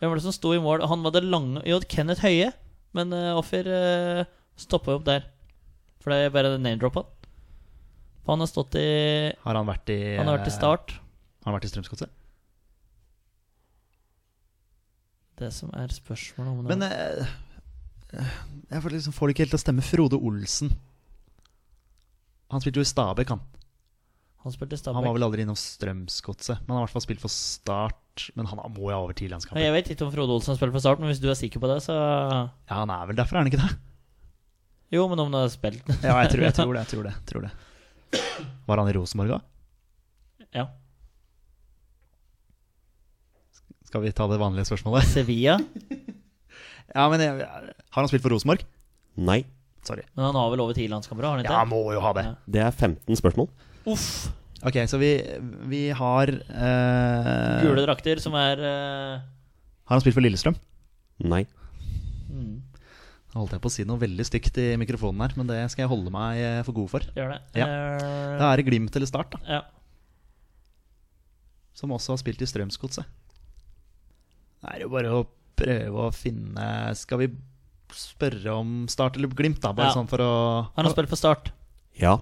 Speaker 2: Hvem var det som sto i mål? Han var det lange Jo, Kenneth Høie. Men eh, Offer uh, stoppa opp der. For det er bare name-droppa. Han har stått i
Speaker 3: Har han vært i
Speaker 2: Han har vært i
Speaker 3: eh,
Speaker 2: Start.
Speaker 3: Har han vært i Strømsgodset?
Speaker 2: Det som er spørsmålet om det
Speaker 3: Men eh, jeg får, liksom, får det ikke helt til å stemme. Frode Olsen. Han spilte jo i Stabæk, han.
Speaker 2: Han spilte i
Speaker 3: Han var
Speaker 2: Stabæk.
Speaker 3: vel aldri innom Strømsgodset, men han har i hvert fall spilt for Start. Men han må jo ha over
Speaker 2: Ja,
Speaker 3: tidlandskamper.
Speaker 2: Jeg vet ikke om Frode Olsen spiller for Start, men hvis du er sikker på det, så
Speaker 3: Ja, han er vel derfor, er han ikke det?
Speaker 2: Jo, men om du har spilt (laughs)
Speaker 3: Ja, jeg tror, jeg tror det. jeg tror det, jeg tror det Var han i Rosenborg òg?
Speaker 2: Ja.
Speaker 3: Skal vi ta det vanlige spørsmålet?
Speaker 2: Sevilla.
Speaker 3: Ja, men jeg, Har han spilt for Rosenborg?
Speaker 1: Nei.
Speaker 3: Sorry.
Speaker 2: Men han har vel over ti landskamper, har han
Speaker 3: Ja,
Speaker 2: ikke?
Speaker 3: han må jo ha det.
Speaker 1: Det er 15 spørsmål.
Speaker 2: Uff!
Speaker 3: Ok, så vi, vi har eh,
Speaker 2: Gule drakter, som er eh,
Speaker 3: Har han spilt for Lillestrøm?
Speaker 1: Nei.
Speaker 2: mm,
Speaker 3: Nå holdt jeg på å si noe veldig stygt i mikrofonen her, men det skal jeg holde meg eh, for god for.
Speaker 2: Gjør det.
Speaker 3: Ja.
Speaker 2: Eh,
Speaker 3: Da er det Glimt eller Start, da,
Speaker 2: ja.
Speaker 3: som også har spilt i Strømsgodset. Det er jo bare å prøve å finne Skal vi spørre om Start eller Glimt, da? Bare
Speaker 2: Ja.
Speaker 3: sånn for å
Speaker 2: Han har spilt for Start.
Speaker 1: Ja.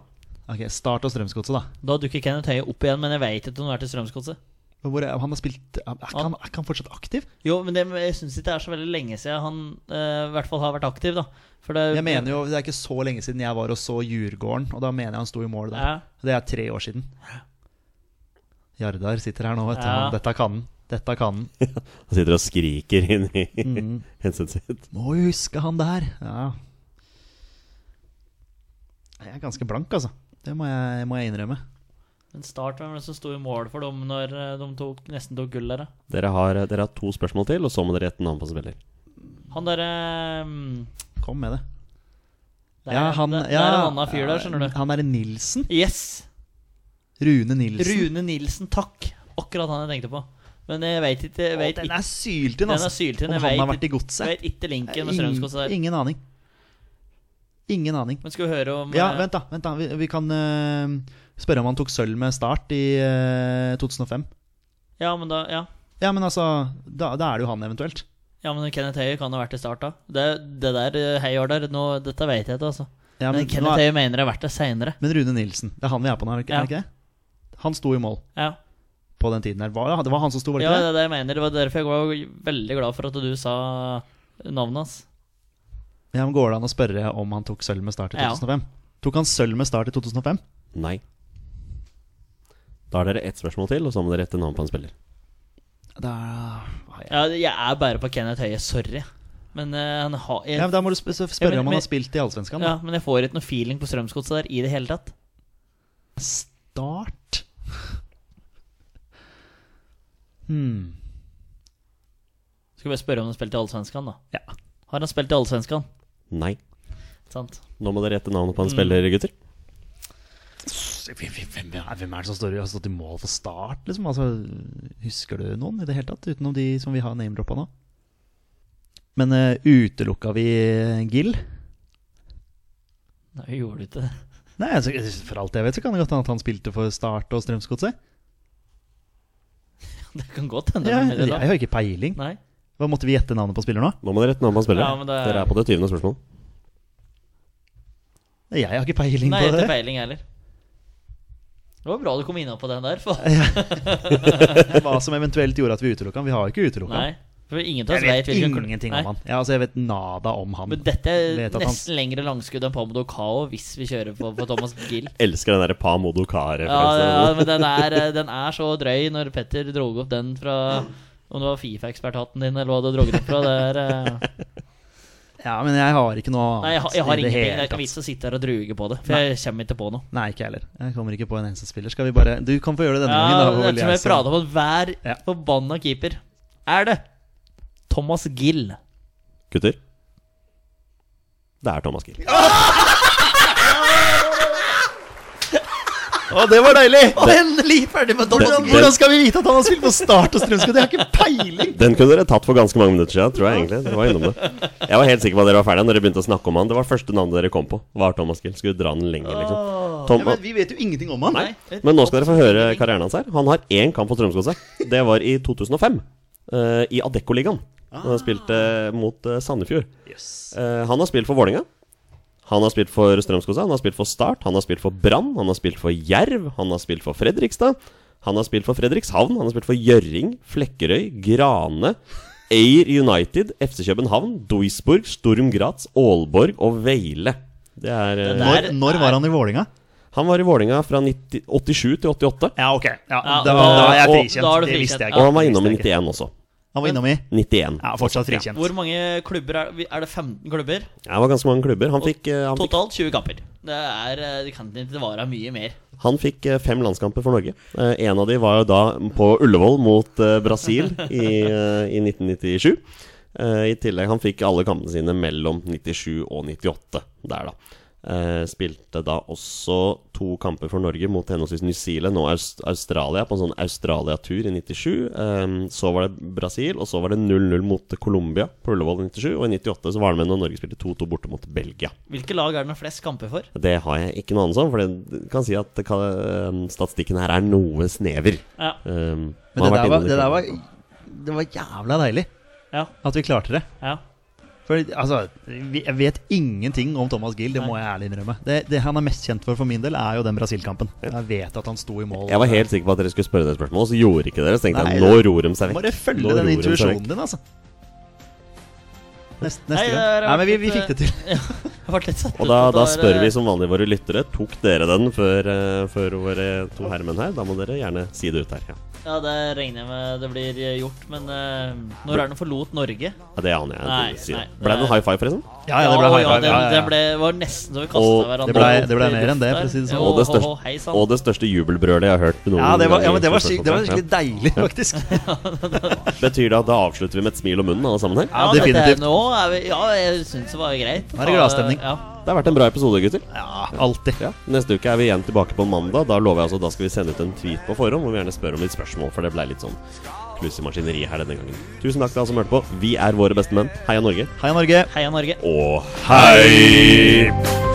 Speaker 3: Ok, Start og Strømsgodset, da.
Speaker 2: Da dukker Kenneth Høie opp igjen, men jeg vet ikke om han er til Strømsgodset.
Speaker 3: Men Hvor er, han har spilt er, er, ikke han, er ikke han fortsatt aktiv?
Speaker 2: Jo, men det, jeg syns ikke det er så veldig lenge siden han eh, i hvert fall har vært aktiv, da. For det,
Speaker 3: Jeg mener jo, Det er ikke så lenge siden jeg var og så Djurgården, og da mener jeg han sto i mål der.
Speaker 2: Ja.
Speaker 3: Det er tre år siden. Jardar sitter her nå, vet du.
Speaker 2: Ja.
Speaker 3: Han, Dette kan han. Dette kan han.
Speaker 1: Han sitter og skriker inn i (laughs) headsetet sitt.
Speaker 3: Må jo huske han der. Ja. Jeg er ganske blank, altså. Det må jeg, må jeg innrømme.
Speaker 2: Men Start hvem var det som sto i mål for dem når eh, de tok, nesten tok gull der, da?
Speaker 1: Dere har, dere har to spørsmål til, og så må dere gjette navn på spiller.
Speaker 2: Han eh, derre
Speaker 3: Kom med det.
Speaker 2: der, der, der er en annen fyr der, skjønner du.
Speaker 3: Han er Nilsen.
Speaker 2: Yes!
Speaker 3: Rune Nilsen.
Speaker 2: Rune Nilsen, takk. Akkurat han jeg tenkte på. Men jeg veit ikke jeg
Speaker 3: Å,
Speaker 2: vet
Speaker 3: den
Speaker 2: ikke,
Speaker 3: er syltynn,
Speaker 2: Den
Speaker 3: altså.
Speaker 2: er syltynn, jeg
Speaker 3: Om han har
Speaker 2: vet
Speaker 3: vært i
Speaker 2: jeg
Speaker 3: godset.
Speaker 2: vet ikke linken med Strømsgodset der.
Speaker 3: Ingen, ingen aning. Ingen aning.
Speaker 2: Men skal vi høre om
Speaker 3: Ja,
Speaker 2: eh,
Speaker 3: vent, da. Vent da. Vi, vi kan eh, spørre om han tok sølv med Start i eh, 2005.
Speaker 2: ja, men da Ja,
Speaker 3: Ja, men altså da, da er det jo han, eventuelt.
Speaker 2: ja men Kenneth Høie kan ha vært i start, da. Det, det der eh, Høie har der, nå, dette vet jeg ikke, altså.
Speaker 3: Ja,
Speaker 2: men,
Speaker 3: men, nå
Speaker 2: Kenneth
Speaker 3: er,
Speaker 2: Høie mener det har vært der seinere.
Speaker 3: men Rune Nilsen. Det er han vi er på nå, er det ikke, er det ikke det? Han sto i mål
Speaker 2: Ja.
Speaker 3: på den tiden her. Hva- Det var han som sto, var det
Speaker 2: ja,
Speaker 3: ikke
Speaker 2: det
Speaker 3: det?
Speaker 2: er det jeg mener. Det var derfor jeg var veldig glad for at du sa navnet hans.
Speaker 3: Ja, men Går det an å spørre om han tok sølv med Start i
Speaker 2: Ja.
Speaker 3: 2005? Tok han sølv med Start i 2005?
Speaker 1: Nei. Da har dere ett spørsmål til, og så må dere gjette navn på en spiller.
Speaker 3: Da ah,
Speaker 2: Ja,
Speaker 3: ja.
Speaker 2: jeg er bare på Kenneth Høie, sorry. Men eh, han har jeg,
Speaker 3: ja, men Da må du sp sp- spørre
Speaker 2: Ja, men-
Speaker 3: om han
Speaker 2: men-
Speaker 3: har spilt i Allsvenskan.
Speaker 2: ja,
Speaker 3: da.
Speaker 2: men jeg får ikke noe feeling på Strømsgodset der i det hele tatt.
Speaker 3: Start hmm.
Speaker 2: Skal vi bare spørre om han spilte i Allsvenskan, da.
Speaker 3: Ja.
Speaker 2: Har han spilt i Allsvenskan?
Speaker 1: Nei.
Speaker 2: Sant.
Speaker 1: Nå må dere gjette navnet
Speaker 2: Mm.
Speaker 1: på en spiller, gutter.
Speaker 3: Hvem hvem er, hvem er det som står, i- har stått i mål for start, liksom? Altså, husker du noen i det hele tatt, utenom de som vi har name-droppa nå? Men eh, utelukka vi eh, Gill?
Speaker 2: Nei, vi gjorde ikke det. (laughs)
Speaker 3: Nei, altså, For alt jeg vet, så kan det godt hende at han spilte for Start og Strømsgodset.
Speaker 2: Det kan godt hende.
Speaker 3: Ja,
Speaker 2: men det
Speaker 3: jeg
Speaker 2: da.
Speaker 3: har ikke peiling.
Speaker 2: Nei.
Speaker 3: Hva Måtte vi gjette navnet på spiller nå?
Speaker 1: Nå må dere gjette navn på en spiller.
Speaker 2: Ja, men det er-
Speaker 1: Dere er på det 20. spørsmål.
Speaker 3: Nei, Jeg har ikke peiling
Speaker 2: Nei,
Speaker 3: på
Speaker 2: ikke
Speaker 3: det.
Speaker 2: peiling heller. Det var bra du kom innom på den der. For.
Speaker 3: Hva som eventuelt gjorde at vi utelukka han. Vi har jo ikke utelukka
Speaker 2: Nei.
Speaker 3: han.
Speaker 2: For ingen av
Speaker 3: Jeg
Speaker 2: oss vet
Speaker 3: vet
Speaker 2: hvilken kl-
Speaker 3: ingenting
Speaker 2: Nei.
Speaker 3: om han. Ja, altså, jeg vet nada om han.
Speaker 2: Men dette er
Speaker 3: Vet at
Speaker 2: nesten
Speaker 3: han-
Speaker 2: lengre langskudd enn Pamodo Kao hvis vi kjører på, på Thomas
Speaker 3: (laughs)
Speaker 2: Gill.
Speaker 1: Elsker den derre Pa Modokar-referansen.
Speaker 2: Ja, ja, men den er, eh, den er så drøy når Petter dro opp den fra om det var Fifa-eksperthatten din, eller hva du dro den opp fra. Det er, eh,
Speaker 3: Ja, men jeg har ikke noe annet.
Speaker 2: nei, jeg, har- jeg
Speaker 3: i
Speaker 2: har
Speaker 3: det
Speaker 2: ingenting.
Speaker 3: hele
Speaker 2: Det er ikke
Speaker 3: tatt.
Speaker 2: vits å sitte her og druge på det, for jeg kommer ikke på noe.
Speaker 3: Nei, ikke jeg heller. Jeg kommer ikke på en eneste spiller. Skal vi bare Du kan få gjøre det denne
Speaker 2: Ja,
Speaker 3: gangen. da,
Speaker 2: det
Speaker 3: Ole
Speaker 2: er som jeg
Speaker 3: Jason.
Speaker 2: prater om hver
Speaker 3: Ja.
Speaker 2: forbanna keeper. Er det Thomas Gill?
Speaker 1: Gutter? Det er Thomas Gill.
Speaker 2: (laughs)
Speaker 1: Å, det var deilig!
Speaker 3: Og endelig ferdig med Tom.
Speaker 1: Det-
Speaker 3: Hvordan-
Speaker 1: det-
Speaker 3: Hvordan skal vi vite at han har spilt på Start og Strømsgodset? Jeg har ikke peiling!
Speaker 1: Den kunne dere tatt for ganske mange minutter siden, tror jeg egentlig. Dere var innom det. Jeg var helt sikker på at dere var ferdige når dere begynte å snakke om han. Det var første navnet dere kom på. Var Thomas Gill. Skulle dra den lenger, liksom.
Speaker 3: Ja,
Speaker 1: Tom,
Speaker 3: men vi vet jo ingenting om han.
Speaker 1: Men nå skal dere få høre karrieren hans her. Han har én kamp for Strømsgodset. Det var i 2005. eh, I Adeccoligaen. Han spilte mot eh, Sandefjord. Eh, han har spilt for Vålerenga. Han har spilt for Strømsgodset, han har spilt for Start, han har spilt for Brann, han har spilt for Jerv, han har spilt for Fredrikstad. Han har spilt for Fredrikshavn, han har spilt for Gjøring, Flekkerøy, Grane, Eir United, FC København, Duisburg, Sturm Graz, Aalborg og Veile. Det er eh,
Speaker 2: der-
Speaker 3: Når, når var han i Vålinga?
Speaker 1: Han var i Vålerenga fra 90, 87 til 88.
Speaker 3: Ja, ok. Ja,
Speaker 2: Ja,
Speaker 3: da,
Speaker 2: og-
Speaker 3: da er jeg
Speaker 1: og-
Speaker 3: frikjent.
Speaker 2: da er du
Speaker 3: det
Speaker 2: frikjent.
Speaker 3: visste jeg
Speaker 2: Ja.
Speaker 1: Og
Speaker 3: ikke.
Speaker 1: han var innom i
Speaker 3: Det visste jeg ikke.
Speaker 1: 91 også.
Speaker 3: Han var innom i
Speaker 1: 91.
Speaker 3: Ja, fortsatt frikjent.
Speaker 2: Hvor mange klubber er det? Er det 15 klubber?
Speaker 1: Ja, det var ganske mange klubber. Han fikk, eh, han fikk,
Speaker 2: Totalt 20 kamper. Det, er, eh, det kan ikke vare mye mer.
Speaker 1: han fikk eh, fem landskamper for Norge. Eh, En av de var jo da på Ullevål mot eh, Brasil i, eh, i 1997. Eh, I tillegg han fikk alle kampene sine mellom 97 og 98 der, da. Eh, Spilte da også to kamper for Norge mot henholdsvis New Zealand og Aust Australia på en sånn Australia-tur i 97. Eh, Så var det Brasil, og så var det 0-0 mot Colombia på Ullevål i 97. Og i 98 så var han med når Norge spilte 2-2 borte mot Belgia.
Speaker 2: Hvilke lag er det med flest kamper for?
Speaker 1: Det har jeg ikke noe anelse om, for det kan si at det kan, eh, statistikken her er noe snever.
Speaker 2: Ja.
Speaker 1: Um,
Speaker 3: Men det der, var, det der var Det var jævla deilig
Speaker 2: Ja.
Speaker 3: at vi klarte det.
Speaker 2: (laughs) ja.
Speaker 3: For altså, vi- jeg vet ingenting om Thomas Gill, det må jeg ærlig innrømme. Det, det han er mest kjent for for min del, er jo den Brasil-kampen. Jeg vet at han sto i mål.
Speaker 1: Jeg var helt sikker på at dere skulle spørre det spørsmålet, så gjorde ikke dere. Så tenkte
Speaker 3: Nei,
Speaker 1: jeg nå ror de seg vekk.
Speaker 3: Må bare
Speaker 1: Nå
Speaker 3: følge
Speaker 1: ror
Speaker 3: den
Speaker 1: de seg
Speaker 3: intuisjonen
Speaker 1: vekk.
Speaker 3: din, altså. Neste,
Speaker 2: Nei,
Speaker 3: neste
Speaker 2: det
Speaker 3: gang.
Speaker 2: har
Speaker 3: Nei, men vi,
Speaker 2: vært
Speaker 3: vi
Speaker 2: litt,
Speaker 3: fikk det til.
Speaker 2: Jeg ble litt satt
Speaker 1: Og
Speaker 2: ut
Speaker 1: da,
Speaker 2: at det
Speaker 1: da
Speaker 2: var,
Speaker 1: spør
Speaker 2: eh,
Speaker 1: vi som vanlig våre lyttere. Tok dere den før, eh, før våre to herremenn her? Da må dere gjerne si det ut her. Ja,
Speaker 2: Ja, det regner jeg med det blir gjort, men eh, når er det han forlot Norge?
Speaker 1: ja Det aner jeg.
Speaker 2: Nei,
Speaker 1: ikke. Si det.
Speaker 2: nei,
Speaker 1: Ble det en
Speaker 2: nei.
Speaker 1: high five, forresten?
Speaker 3: Ja, ja, det ble
Speaker 2: og
Speaker 3: high five.
Speaker 2: det,
Speaker 3: Ja, ja, ja.
Speaker 2: det ble, var nesten så vi
Speaker 1: Og
Speaker 2: kastet hverandre
Speaker 1: det ble-
Speaker 2: opp
Speaker 3: det ble
Speaker 2: i
Speaker 3: mer enn det,
Speaker 2: luft
Speaker 3: for å si det
Speaker 2: der. Jo,
Speaker 3: sånn.
Speaker 1: Og det
Speaker 2: ho, ho,
Speaker 1: største-
Speaker 2: hei, sann.
Speaker 1: Og det største jubelbrølet jeg har hørt noen
Speaker 3: Ja, det var,
Speaker 1: gang
Speaker 3: ja, men det var,
Speaker 1: i
Speaker 3: sykt- det var
Speaker 1: spørsmålstegn.
Speaker 3: skikkelig deilig,
Speaker 1: (laughs)
Speaker 3: faktisk.
Speaker 1: Ja. Betyr det at da avslutter vi med et smil om munnen, alle sammen her?
Speaker 2: Ja,
Speaker 3: Ja, definitivt.
Speaker 2: Dette, nå er vi, ja, jeg syns det var greit.
Speaker 3: Nå er det gladstemning.
Speaker 2: Ja.
Speaker 1: Det har vært en bra episode, gutter.
Speaker 3: Ja, alltid.
Speaker 1: Ja, Neste uke er vi igjen tilbake på mandag. Da lover jeg altså, da skal vi sende ut en tweet på forhånd hvor vi gjerne spør om litt spørsmål, for det ble litt sånn kluss i maskineriet her denne gangen. Tusen takk til alle som hørte på. Vi er våre beste menn. Heia Norge.
Speaker 3: Heia Norge.
Speaker 2: Heia Norge.
Speaker 1: Og hei!